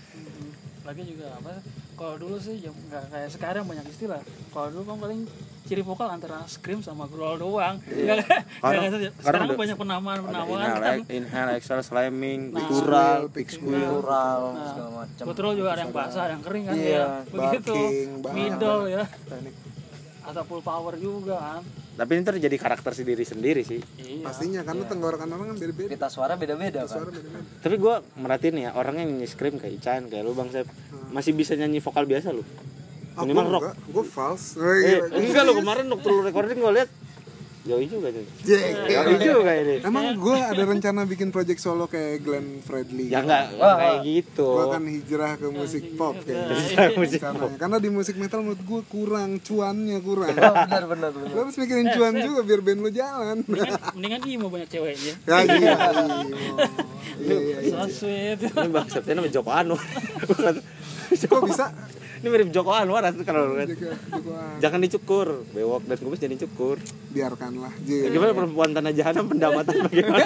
[SPEAKER 4] lagi juga apa kalau dulu sih ya nggak kayak sekarang banyak istilah kalau dulu kan paling ciri vokal antara scream sama growl doang
[SPEAKER 1] Karena-
[SPEAKER 4] Nggak- nggak- nggak-
[SPEAKER 1] karena
[SPEAKER 4] sekarang
[SPEAKER 1] udah-
[SPEAKER 4] banyak penamaan penamaan
[SPEAKER 1] inhale,
[SPEAKER 4] kan
[SPEAKER 1] ex- inhale exhale slamming gitu.
[SPEAKER 4] Nah.
[SPEAKER 1] gutural
[SPEAKER 3] Big
[SPEAKER 2] Iya.
[SPEAKER 1] squeal
[SPEAKER 2] gurah segala macam
[SPEAKER 4] Betul juga ada yang basah, ada yang kering kan
[SPEAKER 2] Iya,
[SPEAKER 4] ya. Begitu.
[SPEAKER 3] barking, banget.
[SPEAKER 4] Middle ya.
[SPEAKER 3] teknik
[SPEAKER 4] Atau full power juga kan.
[SPEAKER 1] tapi ini terjadi karakter sendiri sendiri sih
[SPEAKER 4] Iya.
[SPEAKER 3] pastinya karena tenggorokan orang kan beda-beda
[SPEAKER 2] pita suara beda-beda kan
[SPEAKER 3] suara beda-beda
[SPEAKER 1] tapi gue merhatiin ya orang yang nyanyi scream kayak Ican kayak lu bang Sep masih bisa nyanyi vokal biasa lu minimal rock
[SPEAKER 3] gue
[SPEAKER 1] eh,
[SPEAKER 3] false Wih, gila.
[SPEAKER 1] enggak lu kemarin waktu lu recording gue liat jauh juga nih
[SPEAKER 3] Iya, Jek.
[SPEAKER 1] jauh juga ini
[SPEAKER 3] emang gue ada rencana bikin project solo kayak Glenn Fredly
[SPEAKER 1] ya nggak nggak kayak gitu Iya,
[SPEAKER 3] gue akan hijrah ke musik pop kayaknya
[SPEAKER 1] musik
[SPEAKER 3] Rencananya. karena di musik metal menurut gue kurang cuannya kurang
[SPEAKER 2] benar benar benar
[SPEAKER 3] Lo harus mikirin cuan juga biar band lo jalan.
[SPEAKER 4] Mendingan, mendingan emo banyak ceweknya.
[SPEAKER 3] Ya iya. Iya iya.
[SPEAKER 4] So sweet.
[SPEAKER 1] ini bang Septian sama Joko Anwar
[SPEAKER 3] Kok bisa?
[SPEAKER 1] ini mirip Joko Anwar asli kalau lu lihat
[SPEAKER 3] Jaga Jagoan.
[SPEAKER 1] jangan dicukur bewok dan kumis jadi cukur
[SPEAKER 3] Biarkanlah.
[SPEAKER 1] Ya,
[SPEAKER 3] Ji.
[SPEAKER 1] gimana perempuan tanah jahanam pendapatan bagaimana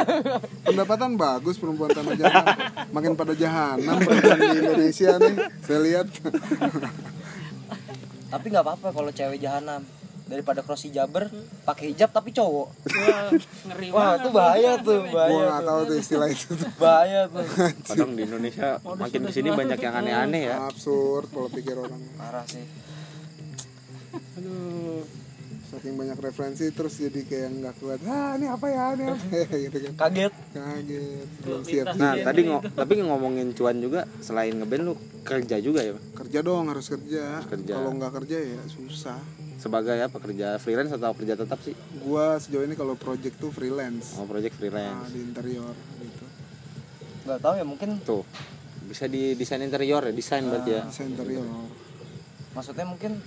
[SPEAKER 3] Pendapatan bagus perempuan tanah jahanam. Makin pada jahanam perempuan di Indonesia nih. Saya lihat.
[SPEAKER 2] tapi nggak apa-apa kalau cewek jahanam daripada cross hijaber pakai hijab tapi cowok
[SPEAKER 4] Wah, ngeri
[SPEAKER 2] wah
[SPEAKER 4] banget.
[SPEAKER 2] itu bahaya tuh
[SPEAKER 3] Gue
[SPEAKER 2] bahaya
[SPEAKER 3] nggak tahu tuh istilah itu. tuh.
[SPEAKER 2] bahaya tuh
[SPEAKER 1] kadang di Indonesia makin kesini banyak yang aneh-aneh ya
[SPEAKER 3] Absurd kalau pikir orang.
[SPEAKER 2] parah sih
[SPEAKER 3] Saking banyak referensi terus jadi kayak nggak kuat. Ah ini apa ya? Ini apa ya? Gitu kan.
[SPEAKER 2] kaget
[SPEAKER 3] Kaget. Belum siap.
[SPEAKER 1] nah tadi ngo- tapi ngomongin cuan juga selain ngeband lu kerja juga ya Bang?
[SPEAKER 3] Kerja dong harus kerja.
[SPEAKER 1] Kerja.
[SPEAKER 3] Kalau nggak kerja ya susah.
[SPEAKER 1] sebagai apa kerja freelance atau kerja tetap sih
[SPEAKER 3] Gua sejauh ini kalau project tuh freelance.
[SPEAKER 1] mau project
[SPEAKER 3] Nah,
[SPEAKER 1] freelance
[SPEAKER 3] di interior gitu.
[SPEAKER 2] nggak tahu ya mungkin
[SPEAKER 1] tuh bisa di desain interior ya desain berarti ya
[SPEAKER 3] Desain interior.
[SPEAKER 2] maksudnya mungkin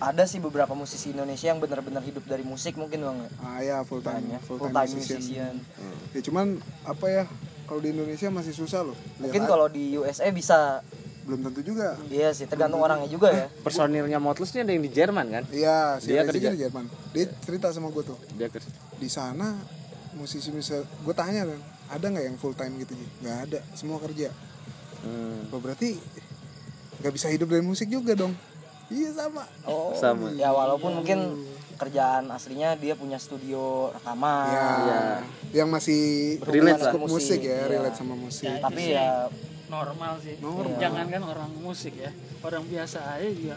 [SPEAKER 2] ada sih beberapa musisi Indonesia yang benar-benar hidup dari musik mungkin bang ya?
[SPEAKER 3] Ah ya full time,
[SPEAKER 2] Banyak,
[SPEAKER 3] full
[SPEAKER 2] full
[SPEAKER 3] time,
[SPEAKER 2] time
[SPEAKER 3] musician.
[SPEAKER 2] Hmm, musician Iya,
[SPEAKER 3] Ya cuman apa ya? Kalau di Indonesia masih susah loh. Lihat
[SPEAKER 2] mungkin
[SPEAKER 3] aja.
[SPEAKER 2] kalau di USA bisa
[SPEAKER 3] belum tentu juga.
[SPEAKER 2] iya sih tergantung orangnya juga ya
[SPEAKER 1] personilnya Motless ini ada yang di Jerman kan
[SPEAKER 3] Iya, si
[SPEAKER 1] Dia
[SPEAKER 3] Rezi
[SPEAKER 1] kerja.
[SPEAKER 3] kan di Jerman. Dia cerita sama gue tuh.
[SPEAKER 1] dia kerja
[SPEAKER 3] Di sana musisi musisi gue tanya kan, ada nggak yang full time gitu? Ji? Nggak ada, semua kerja.
[SPEAKER 1] Hmm,
[SPEAKER 3] Oh, berarti nggak bisa hidup dari musik juga dong? Iya sama. Oh.
[SPEAKER 1] sama
[SPEAKER 2] ya walaupun mungkin kerjaan aslinya dia punya studio rekaman
[SPEAKER 3] Ya, yang masih
[SPEAKER 1] Iya. Relate lah.
[SPEAKER 3] ke musik ya,
[SPEAKER 2] Iya.
[SPEAKER 3] relate sama musik.
[SPEAKER 4] Ya,
[SPEAKER 2] tapi
[SPEAKER 4] Itu sih.
[SPEAKER 2] ya
[SPEAKER 4] Normal sih.
[SPEAKER 3] Normal.
[SPEAKER 4] Jangan kan orang musik ya. Orang biasa aja juga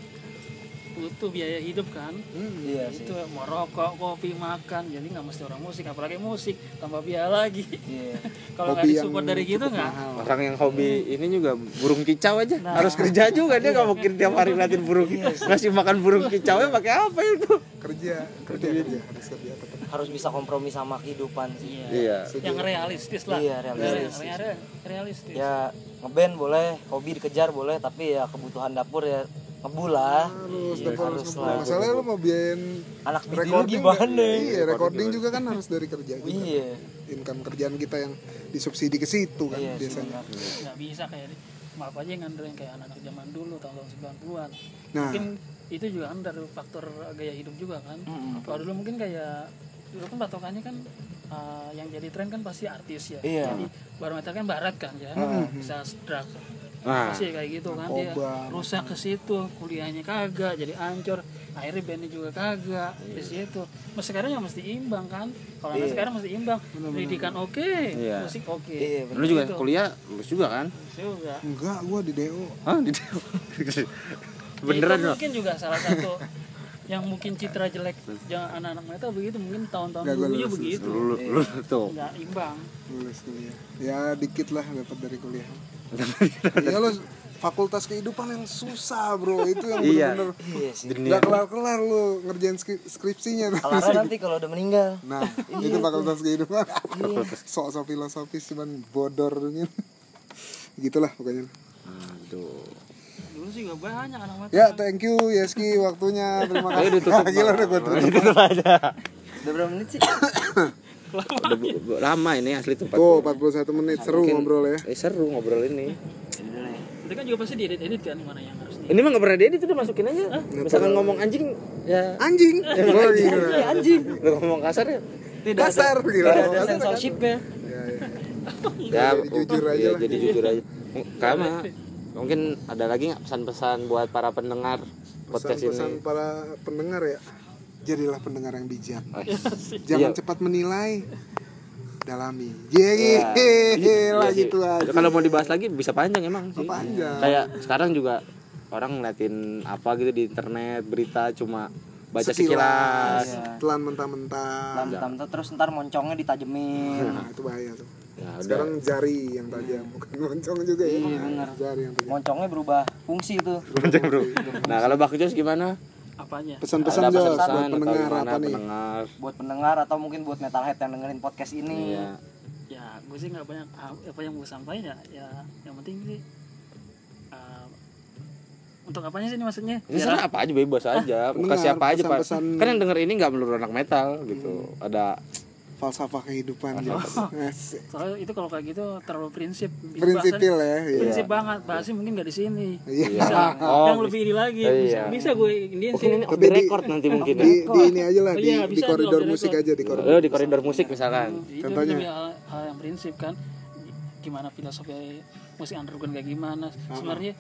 [SPEAKER 4] butuh biaya hidup kan
[SPEAKER 2] iya sih
[SPEAKER 4] itu mau rokok kopi makan jadi nggak mesti orang musik apalagi musik tambah biaya lagi
[SPEAKER 2] iya
[SPEAKER 4] kalau nggak
[SPEAKER 3] Hobi
[SPEAKER 4] disupport
[SPEAKER 3] yang
[SPEAKER 4] dari gitu
[SPEAKER 3] cukup
[SPEAKER 4] nggak
[SPEAKER 3] mahal.
[SPEAKER 1] orang yang hobi ini juga burung kicau aja harus kerja juga dia nggak mungkin tiap hari ngeliatin burung ngasih makan burung kicau pakai apa itu
[SPEAKER 3] kerja kerja kerja harus kerja tetap
[SPEAKER 2] harus bisa kompromi sama kehidupan sih
[SPEAKER 1] iya
[SPEAKER 4] yang realistis lah
[SPEAKER 2] Iya, realistis.
[SPEAKER 4] Yang re- realistis
[SPEAKER 2] ya ngeband boleh hobi dikejar boleh tapi ya kebutuhan dapur ya ngebul lah
[SPEAKER 3] harus
[SPEAKER 2] Iya,
[SPEAKER 3] dapat
[SPEAKER 2] harus lah.
[SPEAKER 3] masalahnya Nah, lu mau biayain
[SPEAKER 2] anak bini lu
[SPEAKER 3] recording
[SPEAKER 2] gimana
[SPEAKER 3] juga- iya recording juga kan harus dari kerja juga
[SPEAKER 2] iya
[SPEAKER 3] income kerjaan kita yang disubsidi ke situ kan
[SPEAKER 2] iya sih
[SPEAKER 3] biasanya
[SPEAKER 2] benar.
[SPEAKER 4] nggak bisa kayak di- maaf aja ngandelin kayak anak-anak zaman dulu tahun-tahun 90-an
[SPEAKER 3] Nah.
[SPEAKER 4] mungkin itu juga kan dari faktor gaya hidup juga kan
[SPEAKER 2] Mm-mm.
[SPEAKER 4] kalau dulu mungkin kayak dulu kan patokannya kan uh, yang jadi tren kan pasti artis ya
[SPEAKER 2] Iya.
[SPEAKER 4] jadi barometer kan barat kan ya bisa drug
[SPEAKER 1] Nah.
[SPEAKER 4] masih kayak gitu kan dia
[SPEAKER 3] Narkoba.
[SPEAKER 4] rusak ke situ kuliahnya kagak jadi ancur akhirnya bandnya juga kagak di situ mas sekarang ya mesti imbang kan kalau anak sekarang mesti imbang pendidikan oke
[SPEAKER 1] Iya.
[SPEAKER 4] musik oke
[SPEAKER 2] Iya,
[SPEAKER 1] lu juga kuliah lulus juga kan
[SPEAKER 4] juga
[SPEAKER 3] enggak gua di DO
[SPEAKER 1] Hah? Di- beneran
[SPEAKER 4] itu
[SPEAKER 1] loh
[SPEAKER 4] mungkin juga salah satu yang mungkin citra jelek jangan anak-anak metal begitu mungkin tahun-tahun
[SPEAKER 3] Nggak, gua
[SPEAKER 4] dulunya
[SPEAKER 3] lulus,
[SPEAKER 4] begitu
[SPEAKER 1] lu lu tuh
[SPEAKER 4] nggak imbang
[SPEAKER 3] lulus kuliah ya dikit lah dapat dari kuliah ya lo fakultas kehidupan yang susah bro itu yang
[SPEAKER 1] Iya.
[SPEAKER 3] bener-bener
[SPEAKER 2] iya sih
[SPEAKER 3] nggak kelar-kelar lu ngerjain skri- skripsinya
[SPEAKER 1] Iya
[SPEAKER 2] Kelar nanti kalau udah meninggal
[SPEAKER 3] nah
[SPEAKER 2] Iya.
[SPEAKER 3] itu fakultas kehidupan sok-sok filosofis cuman bodornya gitulah pokoknya
[SPEAKER 1] aduh
[SPEAKER 4] dulu sih gak banyak anak metal
[SPEAKER 3] ya thank you Yeski waktunya terima kasih Gila, udah gua tutup.
[SPEAKER 2] udah berapa menit sih
[SPEAKER 1] udah bu- bu- lama ini asli tuh
[SPEAKER 3] Tuh, 41 menit seru ngobrol ya.
[SPEAKER 1] Eh, seru ngobrol ini
[SPEAKER 4] itu kan juga pasti diedit-edit kan mana yang harus di
[SPEAKER 1] ini mah nggak pernah dia itu udah masukin aja misalkan ngomong anjing ya
[SPEAKER 3] Anjing. Oh, iya.
[SPEAKER 1] anjing lu ngomong kasar ya
[SPEAKER 2] tidak ada,
[SPEAKER 3] Kasar gila.
[SPEAKER 2] tidak ada censorshipnya
[SPEAKER 3] Ya, ya.
[SPEAKER 1] ya
[SPEAKER 3] Jadi jujur
[SPEAKER 1] iya,
[SPEAKER 3] aja lah.
[SPEAKER 1] jadi jujur aja M- Kama mungkin ada lagi nggak pesan-pesan buat para pendengar podcast ini
[SPEAKER 3] Pesan-pesan para pendengar ya. Jadilah pendengar yang bijak.
[SPEAKER 1] Eh,
[SPEAKER 3] Jangan
[SPEAKER 1] Iya.
[SPEAKER 3] cepat menilai. Dalami. Yeay,
[SPEAKER 1] iya
[SPEAKER 3] gila
[SPEAKER 1] sih.
[SPEAKER 3] gitu aja.
[SPEAKER 1] kalau mau dibahas lagi bisa panjang emang sih
[SPEAKER 3] Panjang.
[SPEAKER 1] kayak sekarang juga orang ngeliatin apa gitu di internet berita cuma baca sekilas
[SPEAKER 3] Sekilas. Iya. Telan
[SPEAKER 1] Ah,
[SPEAKER 3] mentah-mentah.
[SPEAKER 2] tam terus ntar moncongnya ditajemin
[SPEAKER 3] Nah, itu bahaya tuh.
[SPEAKER 1] ya udah
[SPEAKER 3] Sekarang jari yang tajam, bukan moncong juga ya. Jari yang tajam.
[SPEAKER 2] moncongnya berubah fungsi itu
[SPEAKER 1] Panjang, bro nah kalau Bang Jos gimana
[SPEAKER 4] apanya
[SPEAKER 1] ada
[SPEAKER 3] Pesan-pesan Jos
[SPEAKER 1] pesan-pesan
[SPEAKER 3] buat
[SPEAKER 1] atau
[SPEAKER 3] pendengar
[SPEAKER 1] gimana
[SPEAKER 3] apa nih?
[SPEAKER 1] pendengar
[SPEAKER 2] buat pendengar atau mungkin buat metalhead yang dengerin podcast ini
[SPEAKER 1] Iya.
[SPEAKER 4] ya gue sih nggak banyak apa yang gue sampaikan ya ya yang penting sih uh, untuk apanya sih ini maksudnya Ya,
[SPEAKER 1] Ini sebenarnya apa aja bebas aja, mau
[SPEAKER 3] Ah, pendengar,
[SPEAKER 1] kasih apa aja pak.
[SPEAKER 3] pesan-pesan- Hmm.
[SPEAKER 1] Kan yang denger ini nggak melulu anak metal gitu. Ada
[SPEAKER 3] Falsafah kehidupan. Jos. Asik.
[SPEAKER 4] soalnya itu kalau kayak gitu terlalu prinsip Itu
[SPEAKER 3] Prinsipil
[SPEAKER 4] bahasanya-
[SPEAKER 3] ya. iya.
[SPEAKER 4] prinsip banget bahasnya mungkin nggak di sini
[SPEAKER 3] Iya.
[SPEAKER 4] bisa
[SPEAKER 1] Oh,
[SPEAKER 4] yang lebih ini lagi
[SPEAKER 1] iya.
[SPEAKER 4] bisa bisa gue ini
[SPEAKER 1] mungkin
[SPEAKER 4] sih
[SPEAKER 1] ini off the record nanti mungkin ya.
[SPEAKER 3] di, di ini aja lah
[SPEAKER 4] Oh,
[SPEAKER 3] di,
[SPEAKER 4] iya,
[SPEAKER 3] di
[SPEAKER 4] bisa
[SPEAKER 3] koridor
[SPEAKER 4] tuh,
[SPEAKER 3] musik
[SPEAKER 4] koridor.
[SPEAKER 3] aja di koridor
[SPEAKER 1] Lo di koridor musik misalkan.
[SPEAKER 4] itu
[SPEAKER 3] Contohnya?
[SPEAKER 4] lebih hal, hal yang prinsip kan gimana filosofi musik underground kayak gimana sebenarnya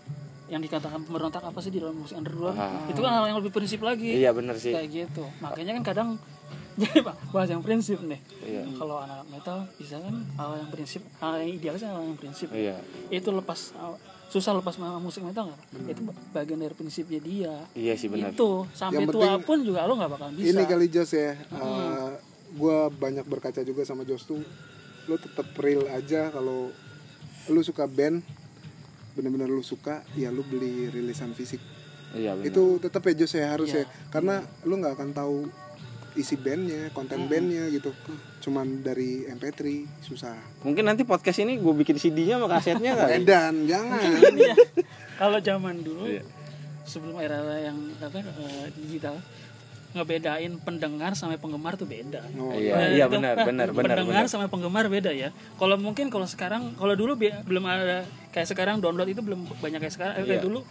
[SPEAKER 4] yang dikatakan pemberontak apa sih di dalam musik underground itu kan hal yang lebih prinsip lagi
[SPEAKER 1] Ah. Iya bener sih.
[SPEAKER 4] kayak gitu makanya kan kadang jadi pak bahas yang prinsip nih
[SPEAKER 1] Iya.
[SPEAKER 4] kalau anak metal bisa kan hal yang prinsip hal yang idealis hal yang prinsip
[SPEAKER 1] Iya.
[SPEAKER 4] itu lepas susah lepas sama musik metal nggak Pak? itu bagian dari prinsipnya dia
[SPEAKER 1] Hmm. Iya sih bener.
[SPEAKER 4] itu sampai tua pun juga lo nggak bakal bisa
[SPEAKER 3] ini kali Jos ya gue banyak berkaca juga sama Jos tuh lu tetap real aja kalau lu suka band bener-bener lu suka ya lu beli rilisan fisik
[SPEAKER 1] Iya bener.
[SPEAKER 3] itu tetap ya Jos ya harus ya karena lu nggak akan tahu isi bandnya konten bandnya gitu cuman dari MP3 susah
[SPEAKER 1] Mungkin nanti podcast ini gue bikin CD-nya sama kasetnya
[SPEAKER 3] Iya.
[SPEAKER 1] kali.
[SPEAKER 3] dan jangan
[SPEAKER 4] Iya. kalau zaman dulu
[SPEAKER 1] Iya.
[SPEAKER 4] sebelum era yang apa eh, digital ngebedain pendengar sama penggemar tuh beda.
[SPEAKER 1] Iya
[SPEAKER 4] Eh,
[SPEAKER 1] iya
[SPEAKER 4] itu,
[SPEAKER 1] bener
[SPEAKER 4] eh,
[SPEAKER 1] bener bener.
[SPEAKER 4] pendengar sama penggemar beda ya. Kalau mungkin kalau sekarang kalau dulu bi- belum ada kayak sekarang download itu belum banyak kayak sekarang eh, kayak dulu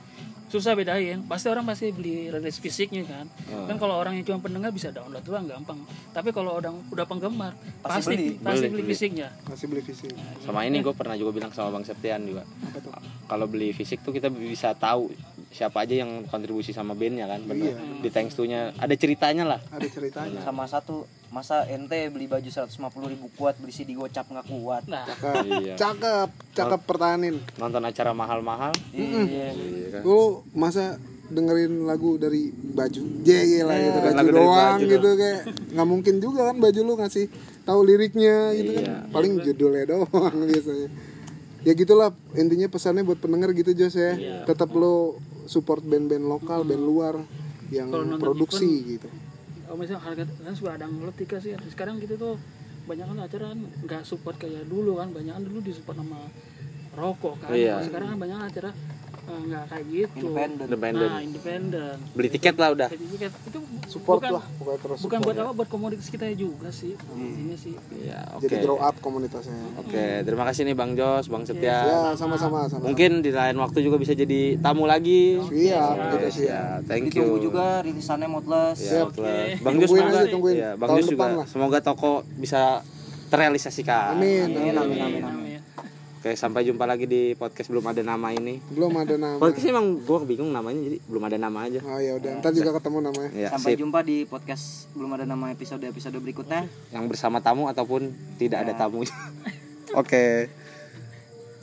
[SPEAKER 4] susah bedain. Pasti orang pasti beli rilis fisiknya kan. Kan kalau orang yang cuma pendengar bisa download doang gampang. Tapi kalau orang udah penggemar pasti pasti beli, fisiknya.
[SPEAKER 3] masih beli fisik
[SPEAKER 1] Sama ini gue pernah juga bilang sama Bang Septian juga. Kalau beli fisik tuh kita bisa tahu siapa aja yang kontribusi sama bandnya kan bener. Di thanks to-nya ada ceritanya lah. iya.
[SPEAKER 3] ada ceritanya
[SPEAKER 2] sama satu masa ente beli baju 150 ribu kuat beli CD gocap nggak kuat
[SPEAKER 4] Nah,
[SPEAKER 1] Iya.
[SPEAKER 3] cakep cakep pertahanin
[SPEAKER 1] Nonton acara mahal-mahal.
[SPEAKER 2] iya
[SPEAKER 1] Iya kan.
[SPEAKER 3] lu masa dengerin lagu dari baju J lah gitu baju
[SPEAKER 1] Iya, Lagu dari
[SPEAKER 3] doang
[SPEAKER 1] baju
[SPEAKER 3] gitu kayak nggak mungkin juga kan baju lu ngasih tahu liriknya gitu
[SPEAKER 1] Iya.
[SPEAKER 3] kan paling judulnya doang biasanya ya gitulah intinya pesannya buat pendengar gitu Jos ya tetap lo support band-band lokal band luar yang
[SPEAKER 4] Kalau nonton
[SPEAKER 3] produksi gitu
[SPEAKER 4] oh, misalnya harga kan sudah ada ngeletika sih sekarang kita tuh banyak kan acara kan nggak support kayak dulu kan banyak kan dulu disupport sama rokok kan
[SPEAKER 1] Iya.
[SPEAKER 4] Kalau sekarang kan banyak acara eh, nggak kayak gitu
[SPEAKER 2] Independen.
[SPEAKER 1] Independen.
[SPEAKER 4] nah independen
[SPEAKER 1] beli tiket lah udah
[SPEAKER 4] Jadi kan itu bu-
[SPEAKER 3] Ya. support
[SPEAKER 4] bukan,
[SPEAKER 3] lah Hmm. pokoknya terus
[SPEAKER 4] bukan buat apa buat komoditas kita juga sih intinya sih
[SPEAKER 1] iya oke Nah,
[SPEAKER 3] jadi grow up komunitasnya
[SPEAKER 1] oke terima kasih nih bang Jos bang Setia
[SPEAKER 3] ya sama-sama sama
[SPEAKER 1] mungkin di lain waktu juga bisa jadi tamu lagi
[SPEAKER 3] siap kita siap
[SPEAKER 1] ya thank you
[SPEAKER 2] Ditunggu Gitu juga rilisannya Motless.
[SPEAKER 1] Ya, betul. Bang Jus
[SPEAKER 3] Iya. Tungguin
[SPEAKER 1] semoga
[SPEAKER 3] aja, tungguin.
[SPEAKER 1] iya, Bang
[SPEAKER 3] Tahun
[SPEAKER 1] Jus juga
[SPEAKER 3] depan lah.
[SPEAKER 1] semoga toko bisa terrealisasikan.
[SPEAKER 3] amin amin.
[SPEAKER 4] Amin.
[SPEAKER 1] Oke, sampai jumpa lagi di podcast belum ada nama ini.
[SPEAKER 3] belum ada nama
[SPEAKER 1] Podcast emang gua bingung namanya jadi belum ada nama aja.
[SPEAKER 3] oh ya udah ntar juga ketemu namanya
[SPEAKER 1] Ya,
[SPEAKER 2] Sampai
[SPEAKER 1] sip.
[SPEAKER 2] jumpa di podcast belum ada nama episode episode berikutnya.
[SPEAKER 3] Nah.
[SPEAKER 1] Yang bersama tamu ataupun tidak ada tamunya. Oke.